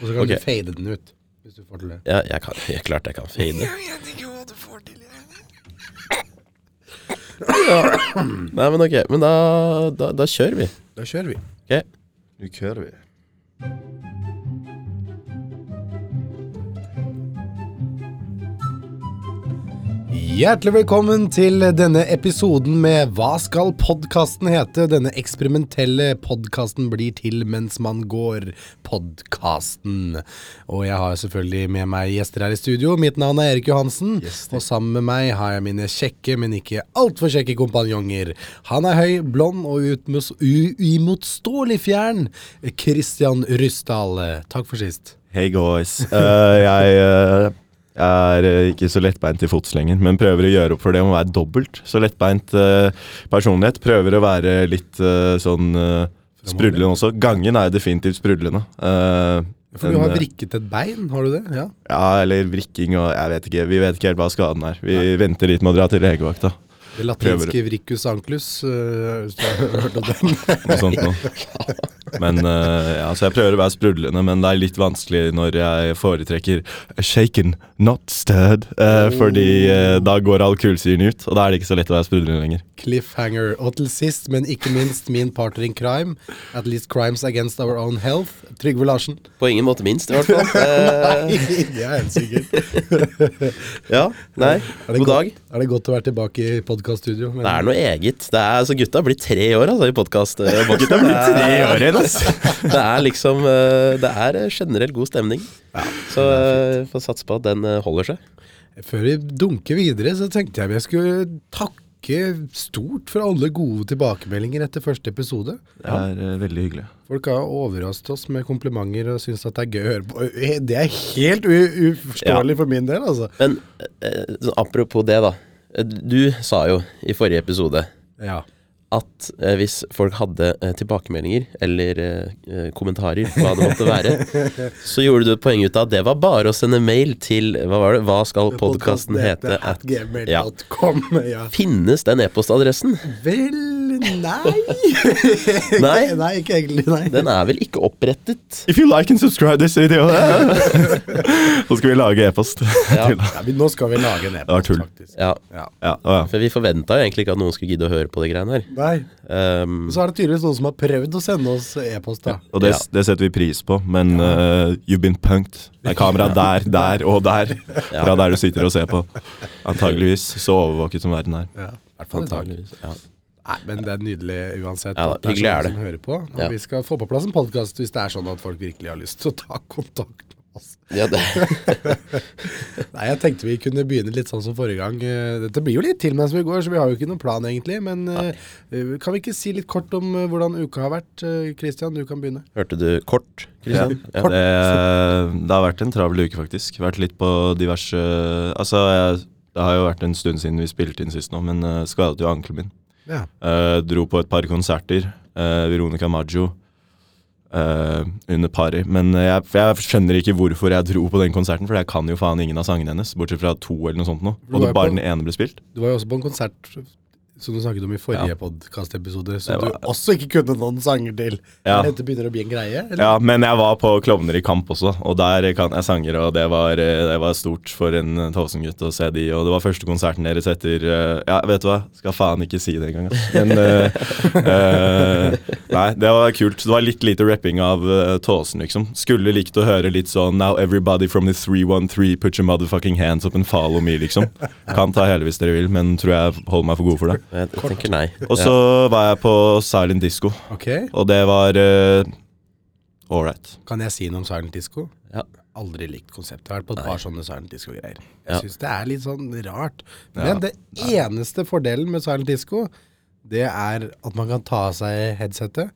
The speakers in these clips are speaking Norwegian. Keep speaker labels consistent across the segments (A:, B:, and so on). A: Og så kan
B: Ok.
A: du fade den ut, hvis du får til det.
B: Ja, jeg kan, jeg, klart jeg kan fade.
A: Jeg vet ikke hva du får til.
B: Nei, men ok. Men da, da, da kjører vi.
A: Da kjører vi.
B: Ok.
C: Nu kör vi.
A: Hjertelig velkommen til denne episoden med Hva skal podkasten hete? Denne eksperimentelle podkasten blir til mens man går. Podkasten. Og jeg har selvfølgelig med meg gjester her i studio. Mitt navn er Erik Johansen.
C: Gjester.
A: Og sammen med meg har jeg mine kjekke, men ikke altfor kjekke kompanjonger. Han er høy, blond og utmos- u- uimotståelig fjern. Christian Ryssdal. Takk for sist.
C: Hei, guys. Eh, jeg eh, er eh, ikke så lettbeint i fots lenger, men prøver å gjøre opp for det med å være dobbelt så lettbeint eh, personlighet. Prøver å være litt eh, sånn eh, sprudlende også. Gangen er jo definitivt sprudlende. Eh,
A: For du har
C: men, eh,
A: vrikket et bein, har du det? Ja.
C: Ja, eller vrikking og jeg vet ikke. Vi vet ikke helt hva skaden er. Vi venter litt med å dra til legevakta.
A: Det
C: Prøver
A: latinske vricus anclus. øh, hvis du har hørt om den.
C: Noe sånt noe. Men eh, ja, så jeg prøver å være sprudlende, men det er litt vanskelig når jeg foretrekker shaken, not stirred, eh, fordi eh, da går all kullsyren ut, og da er det ikke så lett å være sprudlende lenger.
A: Cliffhanger. Og til sist, men ikke minst, min partner in crime. At least crimes against our own health. Trygve Larsen.
B: På ingen måte minst, i hvert fall. Eh,
A: det er helt sikkert.
B: ja, nei.
A: Er det
B: God dag.
A: godt- Er det godt å være tilbake i podkaststudio?
B: Det er noe eget. Det er, altså, gutta blir tre år altså, i podkast. Gutta Det er liksom eh, Det er eh, generell god stemning. Så eh, får satse på at den eh, holder seg.
A: Før vi dunker videre, så tenkte jeg jeg skulle takke stort for alle gode tilbakemeldinger etter første episode.
C: Det er eh, veldig hyggelig.
A: Folk har overrasket oss med komplimenter og syns at det er gøy å høre på. Eh, Det er helt u uforståelig for min del, altså.
B: Men eh, så apropos det, da. Eh, Du sa jo i forrige episode
A: Ja.
B: at eh, hvis folk hadde eh, tilbakemeldinger eller eh, eh, kommentarer, hva det måtte være, så gjorde du et poeng ut av at det var bare å sende mail til Hva var det? Hva skal podkasten hete?
A: at
B: At, ja.
A: gmail.com. Ja.
B: Finnes den e-postadressen?
A: Vel, nei.
B: Nei.
A: nei, ikke egentlig, nei.
B: Den er vel ikke opprettet?
C: If you like and subscribe this video eh. Så skal vi lage e-post.
B: Ja.
C: til-
A: Ja, men nå skal vi lage en
C: var
A: e-post,
C: tull.
A: faktisk.
B: Ja,
A: Ja.
C: ja, å ja.
B: for vi forventa jo egentlig ikke at noen skulle gidde å høre på de greiene her.
A: Nei,
B: Ehm,
A: så er det tydeligvis noen som har prøvd å sende oss e-post, da.
C: Og det,
B: Ja.
C: det setter vi pris på, men eh, you've been punked. Det er kamera der, der og der. Fra der du sitter og ser på. Antageligvis så overvåket som verden er.
A: Ja. i hvert fall en dag.
B: antageligvis, ja.
A: Nei, men det er nydelig uansett.
B: Ja, da,
A: at det
B: hyggelig
A: sånne
B: er det.
A: Som hører på. Og
B: Ja.
A: Vi skal få på plass en podkast hvis det er sånn at folk virkelig har lyst til å ta kontakt med oss.
B: Ja, det,
A: Nei, jeg tenkte vi kunne begynne litt sånn som forrige gang. Eh, Dette blir jo litt til mens vi går, så vi har jo ikke noen plan egentlig. Men eh, eh, kan vi ikke si litt kort om eh, hvordan uka har vært? Eh, Christian, du kan begynne.
B: hørte du kort, Kristian? Ja.
C: Det, det har vært en travel uke, faktisk. Vært litt på diverse Altså, jeg, det har jo vært en stund siden vi spilte inn sist nå, men eh, skadet jo ankelen min.
A: Ja.
C: Eh, dro på et par konserter. eh, Veronica Maggio. eh, under pari. Men eh, jeg, for jeg skjønner ikke hvorfor jeg dro på den konserten, for jeg kan jo faen ingen av sangene hennes, bortsett fra to eller noe sånt nå.
A: Du
C: Og
A: er
C: det bare
A: på-
C: den ene ble spilt.
A: Du var jo også på en konsert som du snakket om i forrige podkastepisode, som
C: Det var-
A: du også ikke kunne noen sanger til.
C: Ja.
A: Er Dette begynner å bli en greie? Eller?
C: Ja, men jeg var på Klovner i kamp også, og der kan jeg sanger, og det var, eh, det var stort for en eh, Tovsen-gutt å se de, og det var første konserten deres etter eh, Ja, vet du hva, skal faen ikke si det engang, ass. Men eh, eh, Nei, det var kult. Det var litt lite rapping av uh, Tåsen, liksom. Skulle likt å høre litt sånn Now everybody from the 313, put your motherfucking hands up and follow me, liksom. Kan ta hele hvis dere vil, men tror jeg holder meg for god for det.
B: Jeg tenker nei.
C: Og så var jeg på Silent Disco,
A: Ok,
C: og det var eh, ålreit.
A: Kan jeg si noe om Silent Disco?
B: Ja.
A: Aldri likt konseptet. Jeg har vært på et par sånne Silent Disco-greier. Jeg
B: Ja.
A: synes det er litt sånn rart.
C: Ja.
A: Men det eneste fordelen med Silent Disco, det er at man kan ta av seg headsetet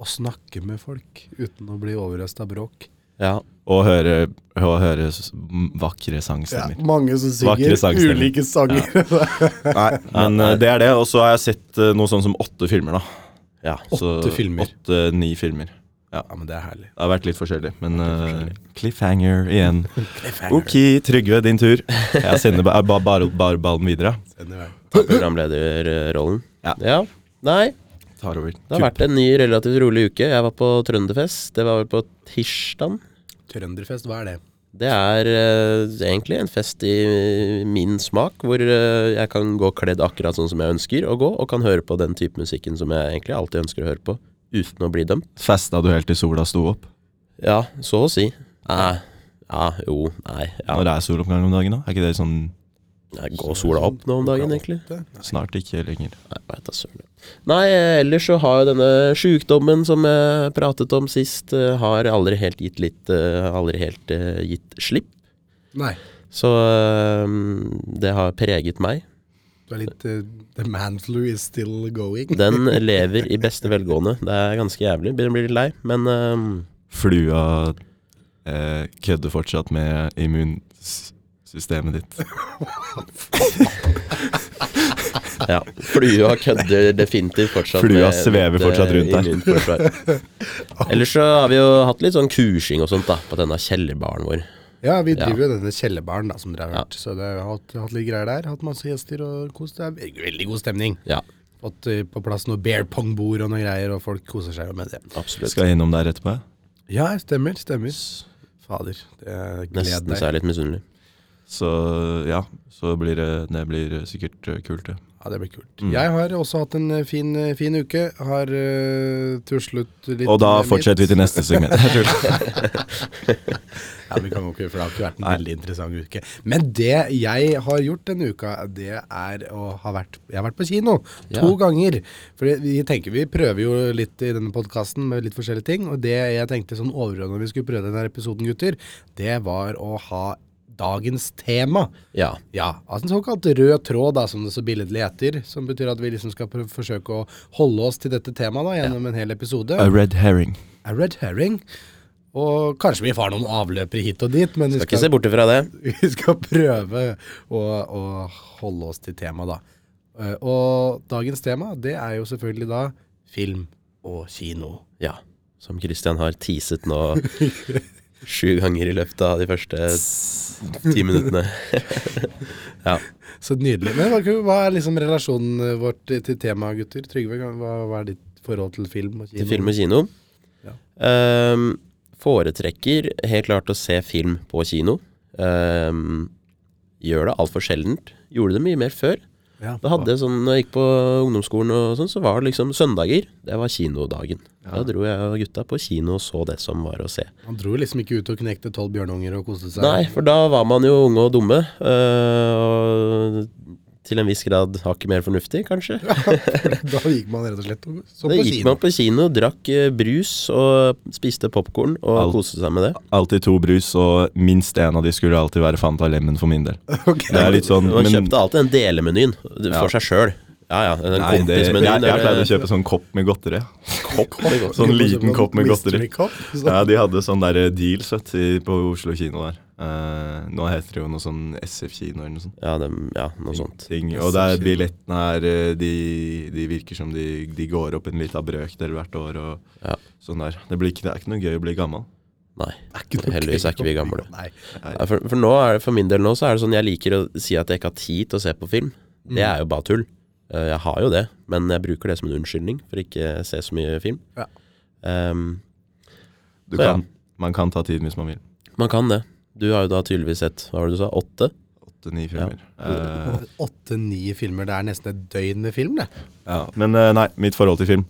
A: og snakke med folk uten å bli overøst av bråk.
B: Ja.
C: Og høre, og høre s- m- vakre sangstemmer.
A: mange som
C: Vakre sangstemmer. ulike
A: sanger.
C: Nei, men
B: nei.
C: eh, det er det. Og så har jeg sett eh, noe sånn som åtte filmer, da.
B: ja.
C: Så
A: Åtte filmer.
C: Åtte-ni filmer.
A: Ja, men det er herlig.
C: Det har vært litt forskjellig, men eh, cliffhanger igjen.
A: Cliffhanger.
C: Ok, Trygve, din tur. Jeg sender ba- ba- bare bare ballen videre.
B: Programlederrollen.
C: Ja.
B: Nei,
C: Tar over.
B: det har vært en ny relativt rolig uke. Jeg var på Trønderfest. Det var vel på tirsdag.
A: Trønderfest, hva er det?
B: Det er eh, egentlig en fest i min smak, hvor eh, jeg kan gå kledd akkurat sånn som jeg ønsker å gå, og kan høre på den type musikken som jeg egentlig alltid ønsker å høre på, uten å bli dømt.
C: Festa du helt til sola sto opp?
B: Ja, så å si. Nei, ja, jo, nei. Ja.
C: Når det er soloppgang om dagen nå? Er ikke det sånn
B: Nei, Går sola opp nå om dagen, egentlig?
C: snart ikke lenger?
B: Nei, jeg vet da søren. Nei, eh, ellers så har jo denne sjukdommen som jeg pratet om sist, eh, har aldri helt gitt litt eh, Aldri helt eh, gitt slipp.
A: Nei,
B: Så eh, det har preget meg.
A: du er litt eh, The man flu is still going.
B: Den lever i beste velgående. Det er ganske jævlig. Begynner å bli litt lei, men ehm,
C: Flua eh, kødder fortsatt med immunsystemet ditt.
B: ja. Flua kødder definitivt fortsatt.
C: Flua
B: med
C: svever
B: mitt,
C: fortsatt rundt
B: eh,
C: der.
B: immunforsvar. Ellers så har vi jo hatt litt sånn kursing og sånt da på denne kjellerbaren vår.
A: Ja, vi
B: Ja.
A: driver jo denne kjellerbaren da, som dere har hørt. Så det har hatt, hatt litt greier der. Hatt masse gjester og kos. Det er veldig, veldig god stemning.
B: Ja,
A: Fått eh, på plass noe bear pong-bord og noe greier, og folk koser seg jo med det.
B: absolutt.
C: Skal jeg innom der etterpå? jeg?
A: Ja, stemmer, stemmer. Fader, det gleder
B: Nesten
A: deg.
B: så er jeg litt misunnelig.
C: Så ja, så blir det, det blir sikkert eh, kult, det.
A: Ja, det blir kult.
C: Mm.
A: Jeg har også hatt en eh, fin, eh, fin uke. Har eh, tuslet litt
C: Og da
A: med
C: fortsetter vi
A: mitt.
C: til neste segment. Jeg tror det.
A: Ja, vi kan gå ikke, for det har ikke vært en veldig interessant uke. Men det jeg har gjort denne uka, det er å ha vært Jeg har vært på kino to
B: Ja.
A: ganger. For vi tenker vi prøver jo litt i denne podkasten med litt forskjellige ting. Og det jeg tenkte sånn overordnet når vi skulle prøve denne episoden, gutter, det var å ha dagens tema.
B: Ja.
A: Ja, altså en såkalt rød tråd, da, som det så billedlig heter. Som betyr at vi liksom skal prøve, forsøke å holde oss til dette temaet da, gjennom en hel episode.
C: A red herring.
A: A red herring. Og kanskje vi får noen avløpere hit og dit, men vi
B: Skal ikke
A: skal,
B: se bort ifra det.
A: vi skal prøve å, å holde oss til temaet, da. Eh, Og dagens tema, det er jo selvfølgelig da film og kino.
B: Ja. Som Christian har teaset nå sju ganger i løpet av de første ti minuttene. ja.
A: Så nydelig. Men hva, hva er liksom relasjonen vår til til temaet, gutter? Trygve, hva, hva er ditt forhold til film og kino?
B: til film og kino.
A: Ja.
B: Ehm, foretrekker helt klart å se film på kino. Ehm, gjør det altfor sjeldent. Gjorde det mye mer før.
A: Ja.
B: Da hadde jeg sånn, når jeg gikk på ungdomsskolen, og sånn, så var det liksom søndager. Det var kinodagen. Da dro jeg og gutta på kino og så det som var å se.
A: Han dro liksom ikke ut og knekte tolv bjørnunger og koste seg.
B: Nei, for da var man jo unge og dumme. eh, og til en viss grad hakket mer fornuftig, kanskje.
A: da gikk man rett og slett og så på
B: Da gikk
A: kino.
B: man på kino, drakk eh, brus og spiste popkorn og
C: Alt.
B: koste seg med det.
C: Alltid to brus, og minst én av de skulle alltid være Fanta Lemon for min del.
A: Ok.
C: Det er litt sånn
B: Man
C: men,
B: kjøpte alltid den delemenyen for
C: Ja.
B: seg sjøl. Ja ja, den
C: Nei, det, jeg,
B: kompismenyen.
C: jeg pleide å
B: eller-
C: kjøpe sånn kopp med godteri. Kopp?
B: med godteri.
C: Sånn liten kopp med
A: Mystery
C: godteri.
A: Kopp, så.
C: Ja, de hadde sånn der deals vet, du, på Oslo kino der. Eh, nå heter det jo noe sånn SF-kino eller noe sånt.
B: Ja, dem- ja, noe sånt.
C: Ting. Og der billettene er eh, de, de virker som de, de går opp en lita brøkdel hvert år og
B: Ja.
C: sånn der. Det, blir ikke, det er ikke noe gøy å bli gammel.
B: Nei.
A: Det ikke noe
B: Heldigvis
A: gøy å
B: er ikke vi
A: komme
B: gamle.
A: på. Nei.
B: Nei, For, for, nå er det, for min del nå så er det sånn jeg liker å si at jeg ikke har tid til å se på film. Det
C: Mm.
B: er jo bare tull. Eh, Jeg har jo det, men jeg bruker det som en unnskyldning for ikke å se så mye film.
A: Ja.
B: Ehm,
C: Du
B: Så ja.
C: kan, Man kan ta tiden hvis man vil.
B: man kan det. Du har jo da tydeligvis sett hva var det du sa, åtte?
C: Åtte-ni filmer. Eh,
A: Åtte-ni filmer, det er nesten et døgn med film, det.
C: Ja, men eh, nei, mitt forhold til film.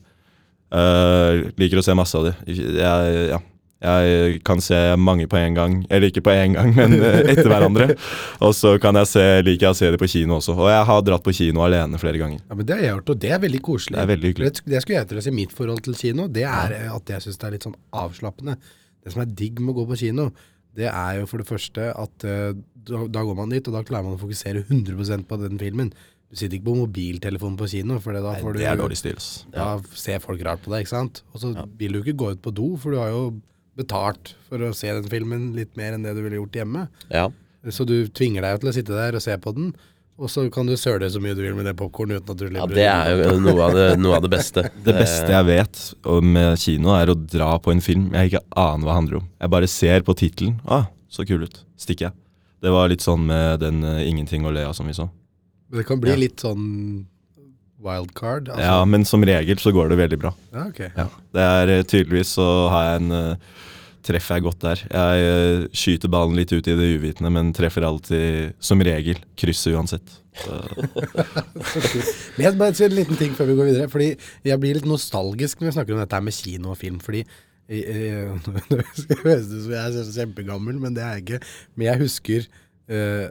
C: Eh, liker å se masse av det. Jeg, ja. jeg kan se mange på en gang. Eller ikke på en gang, men eh, etter hverandre. Og så kan jeg se, liker jeg å se det på kino også. Og jeg har dratt på kino alene flere ganger.
A: Ja, men Det har jeg gjort, og det er veldig koselig.
C: Det er veldig hyggelig.
A: Det, det skulle jeg til å si mitt forhold til kino, det er eh, at jeg syns det er litt sånn avslappende. Det som er digg med å gå på kino, det er jo for det første at eh, da, da går man dit, og da klarer man å fokusere 100 på den filmen. Du sitter ikke på mobiltelefonen på kino, for det da får du
C: Det er dårlig stil. ass.
A: Da ser folk rart på deg, ikke sant? Og så vil du ikke gå ut på do, for du har jo betalt for å se den filmen litt mer enn det du ville gjort hjemme.
B: Ja.
A: Så du tvinger deg jo til å sitte der og se på den, og så kan du søle så mye du vil med det popkornet uten at du
B: ja,
A: lever
B: det er jo noe av det, noe av det beste. Eh,
C: Det beste jeg vet om eh, kino, er å dra på en film jeg ikke aner hva det handler om. Jeg bare ser på tittelen. Ah, så kul ut. Stikker jeg. Det var litt sånn med den eh, 'Ingenting å le av' som vi så.
A: Men det kan bli
B: Ja.
A: litt sånn wildcard. Altså.
C: Ja, Men som regel så går det veldig bra.
A: Ja, ok.
C: Det er eh, tydeligvis så har jeg en eh, treffer jeg godt der. Jeg eh, skyter ballen litt ut i det uvitende, men treffer alltid, som regel, krysset uansett.
A: Men jeg bare sier en liten ting før vi går videre. Fordi jeg blir litt nostalgisk når vi snakker om dette her med kino og film. Fordi eh, det høres ut som jeg er kjempegammel, men det er jeg ikke. Men jeg husker eh,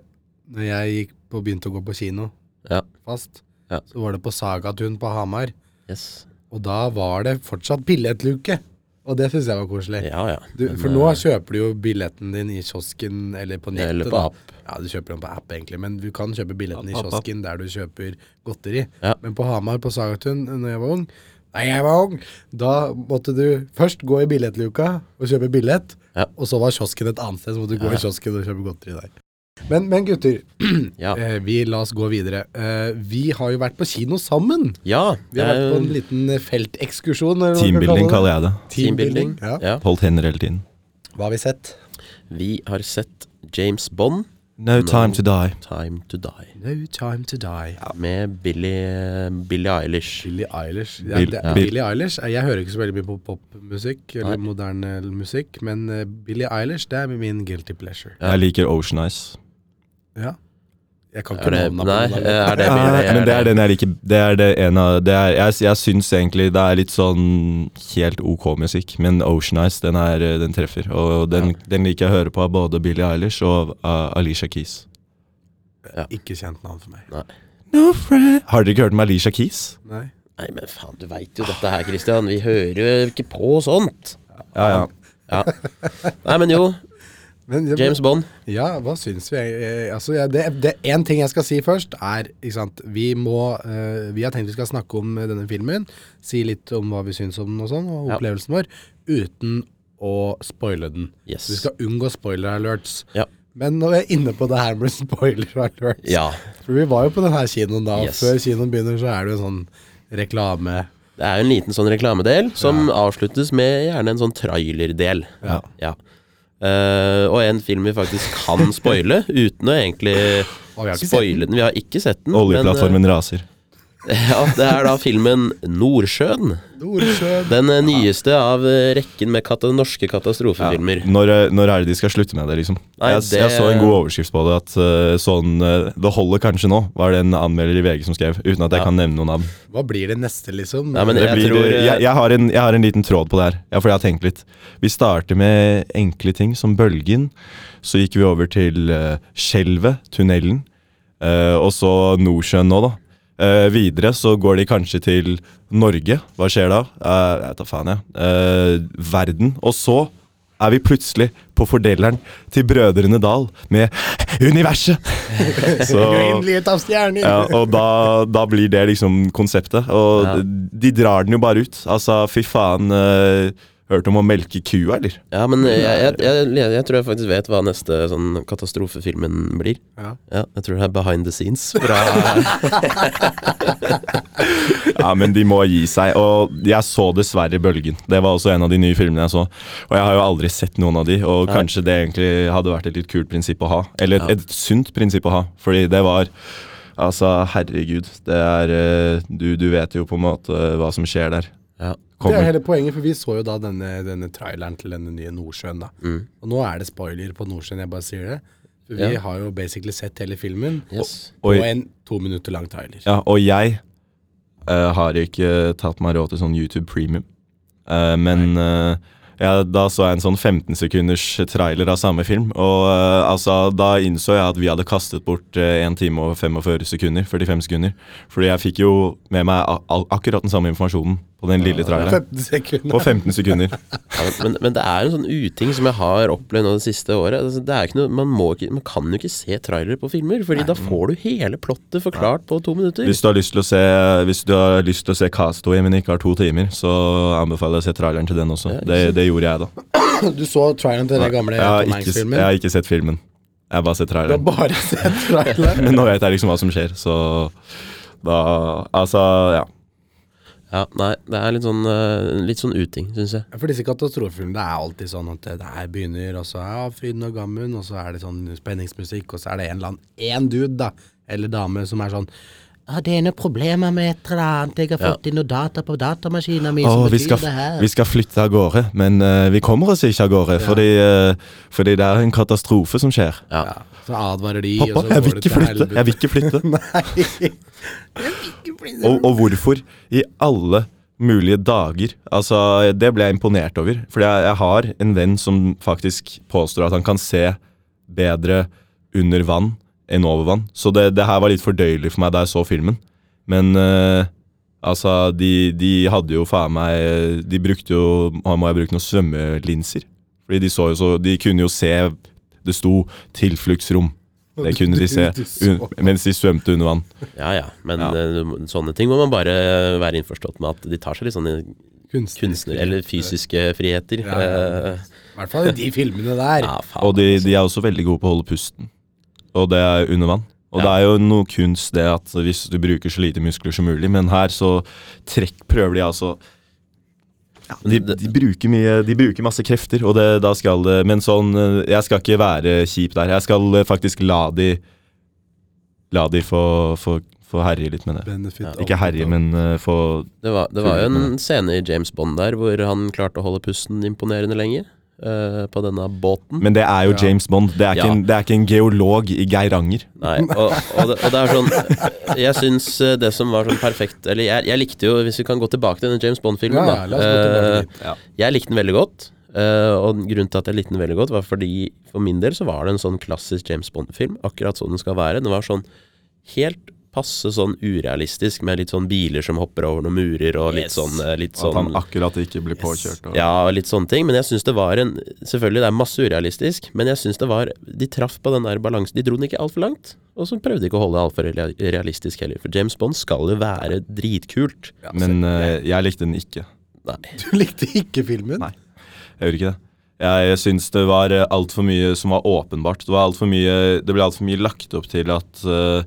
A: når jeg gikk på, begynte å gå på kino
B: Ja.
A: fast,
B: Ja.
A: så var det på Sagatun på Hamar.
B: Yes.
A: Og da var det fortsatt billettluke. Og det syns jeg var koselig.
B: Ja, ja.
A: Du,
B: Men, eh,
A: for nå kjøper du jo billetten din i kiosken eller på nettet.
B: Eller på
A: da.
B: app.
A: Ja, du kjøper den på app egentlig, men du kan kjøpe billetten i
C: App, app, app.
A: kiosken der du kjøper godteri.
B: Ja.
A: Men på Hamar, på Sagatun, når jeg var ung, da jeg var ung, da måtte du først gå i billettluka og kjøpe billett,
B: Ja.
A: og så var kiosken et annet sted, så måtte du gå i kiosken og kjøpe godteri der. Men, men gutter,
B: ja.
A: eh, vi la oss gå videre. Eh, vi har jo vært på kino sammen.
B: ja
A: Vi har vært på en
B: eh,
A: liten feltekskursjon. eller hva man kan kalle det.
C: Teambuilding kaller jeg det.
B: teambuilding.
A: Ja.
B: Ja.
C: Holdt hender hele tiden.
A: Hva har vi sett?
B: Vi har sett James Bond,
C: No time to die.
B: 'Time To Die',
A: No time to die.
B: med Billie, Billie Eilish.
A: Billie Eilish. Ja,
C: Bill-
A: det,
C: ja.
A: Billie Eilish. Jeg hører ikke så veldig mye på popmusikk eller
B: Nei.
A: moderne musikk, men eh, Billie Eilish det er min guilty pleasure.
C: Jeg liker Ocean Eyes.
A: Ja. Jeg kan
B: Er
A: ikke
B: det,
A: navnet
B: nei, eh,
A: på den.
B: er det
C: Ja,
B: Billie
C: men det er den jeg liker. Det er det en av det er, jeg, jeg syns egentlig det er litt sånn helt ok musikk, men Ocean Eyes, den, er, eh, den treffer. Og den, den liker jeg å høre på av både Billie Eilish og uh, Alicia Keys.
A: Ikke kjent navn for meg.
C: No friend. Har dere ikke hørt om Alicia Keys?
A: Nei.
B: Nei, men faen, du veit jo dette her, Christian. Vi hører jo ikke på sånt.
C: Ja, ja.
B: Ja. Nei, men jo.
A: Men,
B: James Bond.
A: Ja, hva syns vi? Eh, Altså, ja, det, det En ting jeg skal si først, er ikke sant, vi, må, eh, vi har tenkt vi skal snakke om eh, denne filmen. Si litt om hva vi syns om den og sånn, og
B: Ja.
A: opplevelsen vår. Uten å spoile den.
B: Yes.
A: Vi skal unngå spoiler alerts.
B: Ja.
A: Men når vi er inne på det her med spoiler alerts
B: Ja.
A: For vi var jo på den her kinoen da, og
B: Yes.
A: før kinoen begynner, så er det jo en sånn reklame.
B: Det er jo en liten sånn reklamedel som avsluttes med gjerne en sånn trailerdel.
C: Ja.
B: Eh, og en film vi faktisk kan spoile, uten å egentlig
A: Og vi har ikke sett
B: spoile den. Vi har ikke sett den.
C: Oljeplattformen raser.
B: men, eh, ja, det er da filmen 'Nordsjøen'.
A: Nordsjøen.
B: Den eh, nyeste av eh, rekken med kata norske katastrofefilmer.
C: Når, eh, når er det de skal slutte med det, liksom?
B: Nei,
C: jeg,
B: det-
C: jeg så en god overskrift på det. At eh, sånn eh, Det holder kanskje nå, var det en anmelder i VG som skrev. Uten at jeg kan nevne noen navn.
A: Hva blir det neste, liksom?
B: Nei, men
C: Det
B: jeg
C: blir,
B: tror
C: eh,
B: eh,
C: jeg, jeg, har en, jeg har en liten tråd på det her, ja, for jeg har tenkt litt. Vi starter med enkle ting som bølgen. Så gikk vi over til eh, skjelvet, tunnelen. eh, og så Nordsjøen nå, da. Eh, videre så går de kanskje til Norge. Hva skjer da? Eh, jeg vet da faen, jeg. Eh, verden. Og så er vi plutselig på fordeleren til Brødrene Dal med universet! så
A: Grønnlighet av stjerner!
C: ja, og da, da blir det liksom konseptet. Og
B: Ja.
C: de drar den jo bare ut. Altså, fy faen. eh, Hørte om å melke kua, eller?
B: Ja, men jeg, jeg, jeg, jeg, jeg tror jeg faktisk vet hva neste sånn katastrofefilmen blir.
A: Ja.
B: jeg tror det er Behind the Scenes. Fra,
C: Ja, men de må gi seg. Og jeg så dessverre Bølgen. Det var også en av de nye filmene jeg så. Og jeg har jo aldri sett noen av de, og
B: Nei.
C: kanskje det egentlig hadde vært et litt kult prinsipp å ha. Eller et,
B: Ja.
C: et sunt prinsipp å ha, fordi det var Altså, herregud. Det er eh, Du, du vet jo på en måte hva som skjer der.
B: ja.
A: Det er
C: Kommer.
A: hele poenget, for vi så jo da denne, denne traileren til denne nye Nordsjøen. da. Og nå er det spoiler på Nordsjøen, jeg bare sier det. For vi
B: Ja.
A: har jo basically sett hele filmen,
B: Yes.
C: Oi.
A: og en to minutter lang trailer.
C: Ja, og jeg eh, har ikke tatt meg råd til sånn YouTube premium. Eh, men eh, ja, da så jeg en sånn 15 sekunders trailer av samme film. Og eh, altså, da innså jeg at vi hadde kastet bort eh, 1 time og 45 sekunder. 45 sekunder Fordi jeg fikk jo med meg a al- akkurat den samme informasjonen på den lille traileren.
A: 15 sekunder.
C: På 15 sekunder.
B: Ja, men, men det er en sånn uting som jeg har opplevd nå det siste året. Altså, Det er ikke noe, man, må ikke, man kan jo ikke se trailere på filmer, Fordi da får du hele plottet forklart på to minutter.
C: Hvis du har lyst til å se eh, Hvis du har lyst til å se Castaway, men ikke har to timer, så anbefaler jeg å se traileren til den også. Det, det gjorde jeg, da.
A: Du så traileren til den gamle
C: Jeg har
A: Tom
C: ikke, s- jeg
A: Hanks-filmen?
C: har ikke sett filmen. Jeg har bare sett
A: Du har
C: traileren.
A: bare sett traileren?
C: Men nå vet jeg liksom hva som skjer, så da Altså, ja.
B: Ja, nei, det er litt sånn, eh, litt sånn uting, syns jeg.
A: For disse katastrofefilmene det er alltid sånn at det her begynner, og så ja, Fryden og Gammen, og så er det sånn spenningsmusikk, og så er det en eller annen én dude, da, eller dame, som er sånn
D: Ja, det er noen problemer med et eller annet. Jeg har
B: Ja.
D: fått inn noe data på datamaskinen min.
C: Å,
D: som
C: vi
D: betyr
C: skal,
D: det her.
C: vi skal flytte av gårde, men eh, vi kommer oss ikke av gårde. Fordi, eh, fordi det er en katastrofe som skjer.
B: Ja.
A: Så advarer de,
C: Pappa,
A: og så
C: jeg
A: går
C: vil
A: det
C: ikke
A: til
C: flytte. Jeg
A: helvete.
C: vil ikke flytte.
A: Nei.
C: Og, og hvorfor? I alle mulige dager. Altså, det ble jeg imponert over. Fordi jeg, jeg har en venn som faktisk påstår at han kan se bedre under vann enn over vann. Så det, det her var litt fordøyelig for meg da jeg så filmen. Men eh, altså, de, de hadde jo faen meg De brukte jo Her må jeg bruke noen svømmelinser. Fordi de så jo så De kunne jo se Det sto 'tilfluktsrom'. Det kunne de se
A: Du så.
C: un- mens de svømte under vann.
B: Ja ja, men
C: Ja.
B: eh, du må- sånne ting må man bare være innforstått med at de tar seg litt sånne kunstner... Eller fysiske friheter.
A: Ja, ja.
B: Eh,
A: I hvert fall i de filmene der.
B: ja, faen.
C: Og de, de er også veldig gode på å holde pusten. Og det er under vann. Og det
B: Ja.
C: er jo noe kunst det at hvis du bruker så lite muskler som mulig, men her så trekk, prøver de altså de,
B: det-
C: de, bruker mye, de bruker masse krefter, og det, da skal det Men sånn eh, Jeg skal ikke være kjip der. Jeg skal eh, faktisk la de La de få, få, få herje litt med det.
A: Benefit of
C: Ikke herje,
A: the
C: men eh, få
B: Det var, det var jo
C: Fullt med
B: en scene i James Bond der hvor han klarte å holde pusten imponerende lenge. eh, på denne båten.
C: Men det er jo
A: Ja.
C: James Bond. Det er,
B: Ja.
C: ikke en, det er ikke en geolog i Geiranger.
B: Nei, og, og, det, og det er sånn Jeg syns eh, det som var sånn perfekt Eller jeg, jeg likte jo, hvis vi kan gå tilbake til den James Bond-filmen,
A: Ja, ja, la
B: da.
A: oss gå tilbake
B: eh, jeg likte den veldig godt. eh, og grunnen til at jeg likte den veldig godt, var fordi for min del så var det en sånn klassisk James Bond-film. Akkurat sånn den skal være. Den var sånn helt passe sånn urealistisk, med litt sånn biler som hopper over noen murer, og litt
D: Yes.
B: sånn, eh, litt
C: At
B: sånn
C: han akkurat ikke blir påkjørt. Og,
B: Ja, og litt sånne ting. Men jeg syns det var en Selvfølgelig, det er masse urealistisk, men jeg syns det var De traff på den der balansen. De dro den ikke altfor langt. Og så prøvde de ikke å holde det altfor rea- realistisk heller. For James Bond skal jo være dritkult.
C: Men eh, jeg likte den ikke.
B: Nei.
A: Du likte ikke filmen?
C: Nei. Jeg gjorde ikke det. Jeg syns det var eh, altfor mye som var åpenbart. Det, var alt for mye, det ble altfor mye lagt opp til at eh,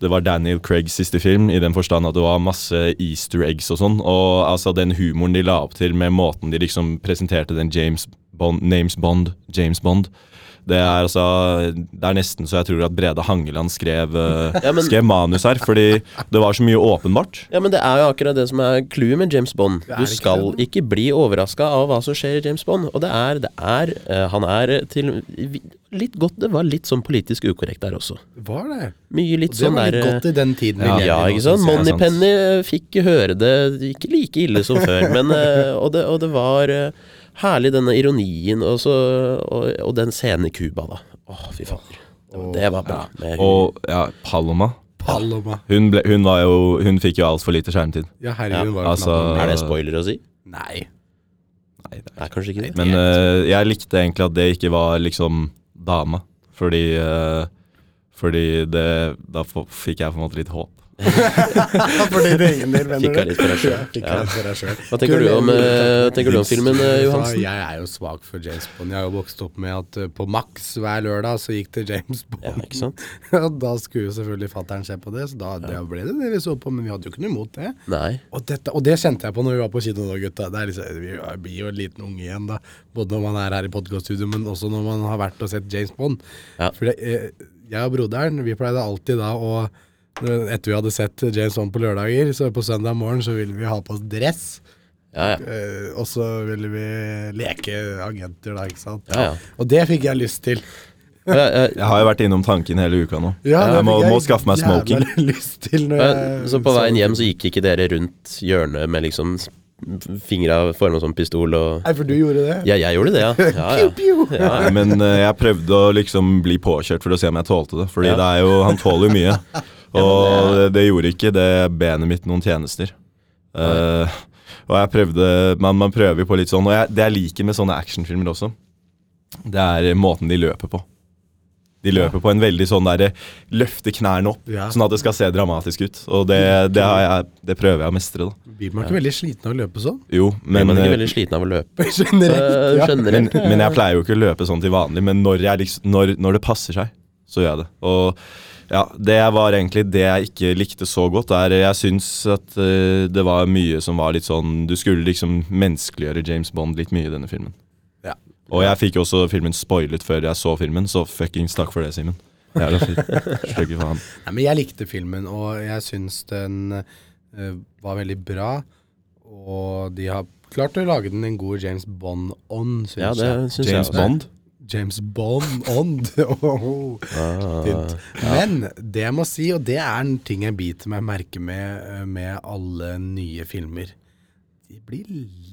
C: det var Daniel Craigs siste film, i den forstand at det var masse easter eggs og sånn. Og altså den humoren de la opp til med måten de liksom presenterte den James Bond, Names Bond, James Bond det er, altså, det er nesten så jeg tror at Brede Hangeland skrev, eh,
B: Ja, men-
C: skrev manus her, fordi det var så mye åpenbart.
B: Ja, men det er jo akkurat det som er clouet med James Bond.
A: er
B: Du
A: ikke
B: skal
A: det,
B: ikke bli overraska av hva som skjer i James Bond. Og det er, det er eh, Han er til Litt godt Det var litt sånn politisk ukorrekt der også.
A: Var det?
B: Mye litt
A: Og det
B: sånn
A: var
B: der
A: litt
B: eh,
A: godt i den tiden vi
C: Ja,
A: lever i
B: Ja,
A: nå,
B: ikke
A: synes
B: sant.
A: jeg.
C: jeg, sant.
B: Moneypenny eh, fikk høre det ikke like ille som før, men eh, og, det, og det var eh, herlig, denne ironien, og, så, og, og den scenen i Cuba, da. Å, fy fader. Det var- Det var bra. Med humor.
C: Og ja, Paloma.
A: Paloma.
C: Hun, ble, hun, var jo, hun fikk jo altfor lite skjermtid.
A: Ja, herregud,
B: Ja,
A: var jo
C: altså-
A: Paloma.
B: er det spoiler å si?
A: Nei.
B: Nei, kanskje ikke det.
C: Men eh, jeg likte egentlig at det ikke var liksom dama. Fordi eh, Fordi det Da f fikk jeg på en måte litt håp.
A: For din egen del, mener
B: Fikk jeg litt for deg selv.
A: Ja, fikk
B: Ja.
A: jeg litt for deg selv.
B: Hva tenker du om, eh, tenker du om filmen, eh,
A: Altså,
B: Johansen?
A: jeg er jo svak for James Bond. Jeg har jo vokst opp med at eh, på maks hver lørdag så gikk det James Bond.
B: Ja, ikke sant?
A: Og da skulle jo selvfølgelig fattern se på det, så da da ble det det vi så på. Men vi hadde jo ikke noe imot det.
B: Nei.
A: Og, dette, og det kjente jeg på når vi var på kino nå, gutta. Det er liksom, vi er- blir jo en liten unge igjen, da. Både når man er her i podkaststudio, men også når man har vært og sett James Bond.
B: Ja.
A: For det, eh, jeg og broderen, vi pleide alltid da å når- etter vi hadde sett James Bond på lørdager, så på søndag morgen så ville vi ha på oss dress.
B: Ja, ja.
A: Eh, og så ville vi leke agenter, da, ikke sant.
B: Ja, ja.
A: Og det fikk jeg lyst til.
B: Og jeg- jeg-
C: Jeg har jo vært innom tanken hele uka nå.
A: Ja, det
C: jeg må,
A: fikk
C: må skaffe meg smoking.
A: jævla lyst til når
B: Men,
A: jeg,
B: Så på veien hjem så gikk ikke dere rundt hjørnet med liksom s- fingra forma som pistol og
A: Nei, for du gjorde det?
B: Ja, jeg gjorde det, ja. ja, ja.
A: Pew, pew.
B: ja, ja.
C: Men eh, jeg prøvde å liksom bli påkjørt for å se om jeg tålte det. Fordi
B: Ja.
C: det er jo, han tåler jo mye. Og det, det gjorde ikke det benet mitt noen tjenester. Eh, og jeg prøvde Man, man prøver jo på litt sånn. Og jeg, det jeg liker med sånne actionfilmer også, det er måten de løper på. De løper på en veldig sånn derre løfte knærne opp,
A: Ja.
C: sånn at det skal se dramatisk ut. Og det, det, har jeg, det prøver jeg å mestre, da.
A: Blir man ikke veldig sliten av å løpe sånn?
C: Jo, men,
B: Men man er ikke
C: eh,
B: veldig sliten av å løpe.
A: Generelt,
B: Eh,
A: ja.
B: Generelt.
C: men, men jeg pleier jo ikke å løpe sånn til vanlig, men når, jeg liksom, når, når det passer seg, så gjør jeg det. Og ja, det var egentlig det jeg ikke likte så godt. Er, jeg syns at eh, det var mye som var litt sånn Du skulle liksom menneskeliggjøre James Bond litt mye i denne filmen.
A: Ja.
C: Og jeg fikk jo også filmen spoilet før jeg så filmen, så fuckings takk for det, Simen. Jævla fint. Stygge faen.
A: Nei, men jeg likte filmen, og jeg syns den eh, var veldig bra. Og de har klart å lage den en god James Bond-ånd, syns
B: Ja, det
A: jeg.
B: syns jeg.
C: James
B: også.
C: Bond?
A: James Bond-ånd! Åh, fint. Men det jeg må si, og det er en ting jeg biter meg merke med eh, med alle nye filmer De blir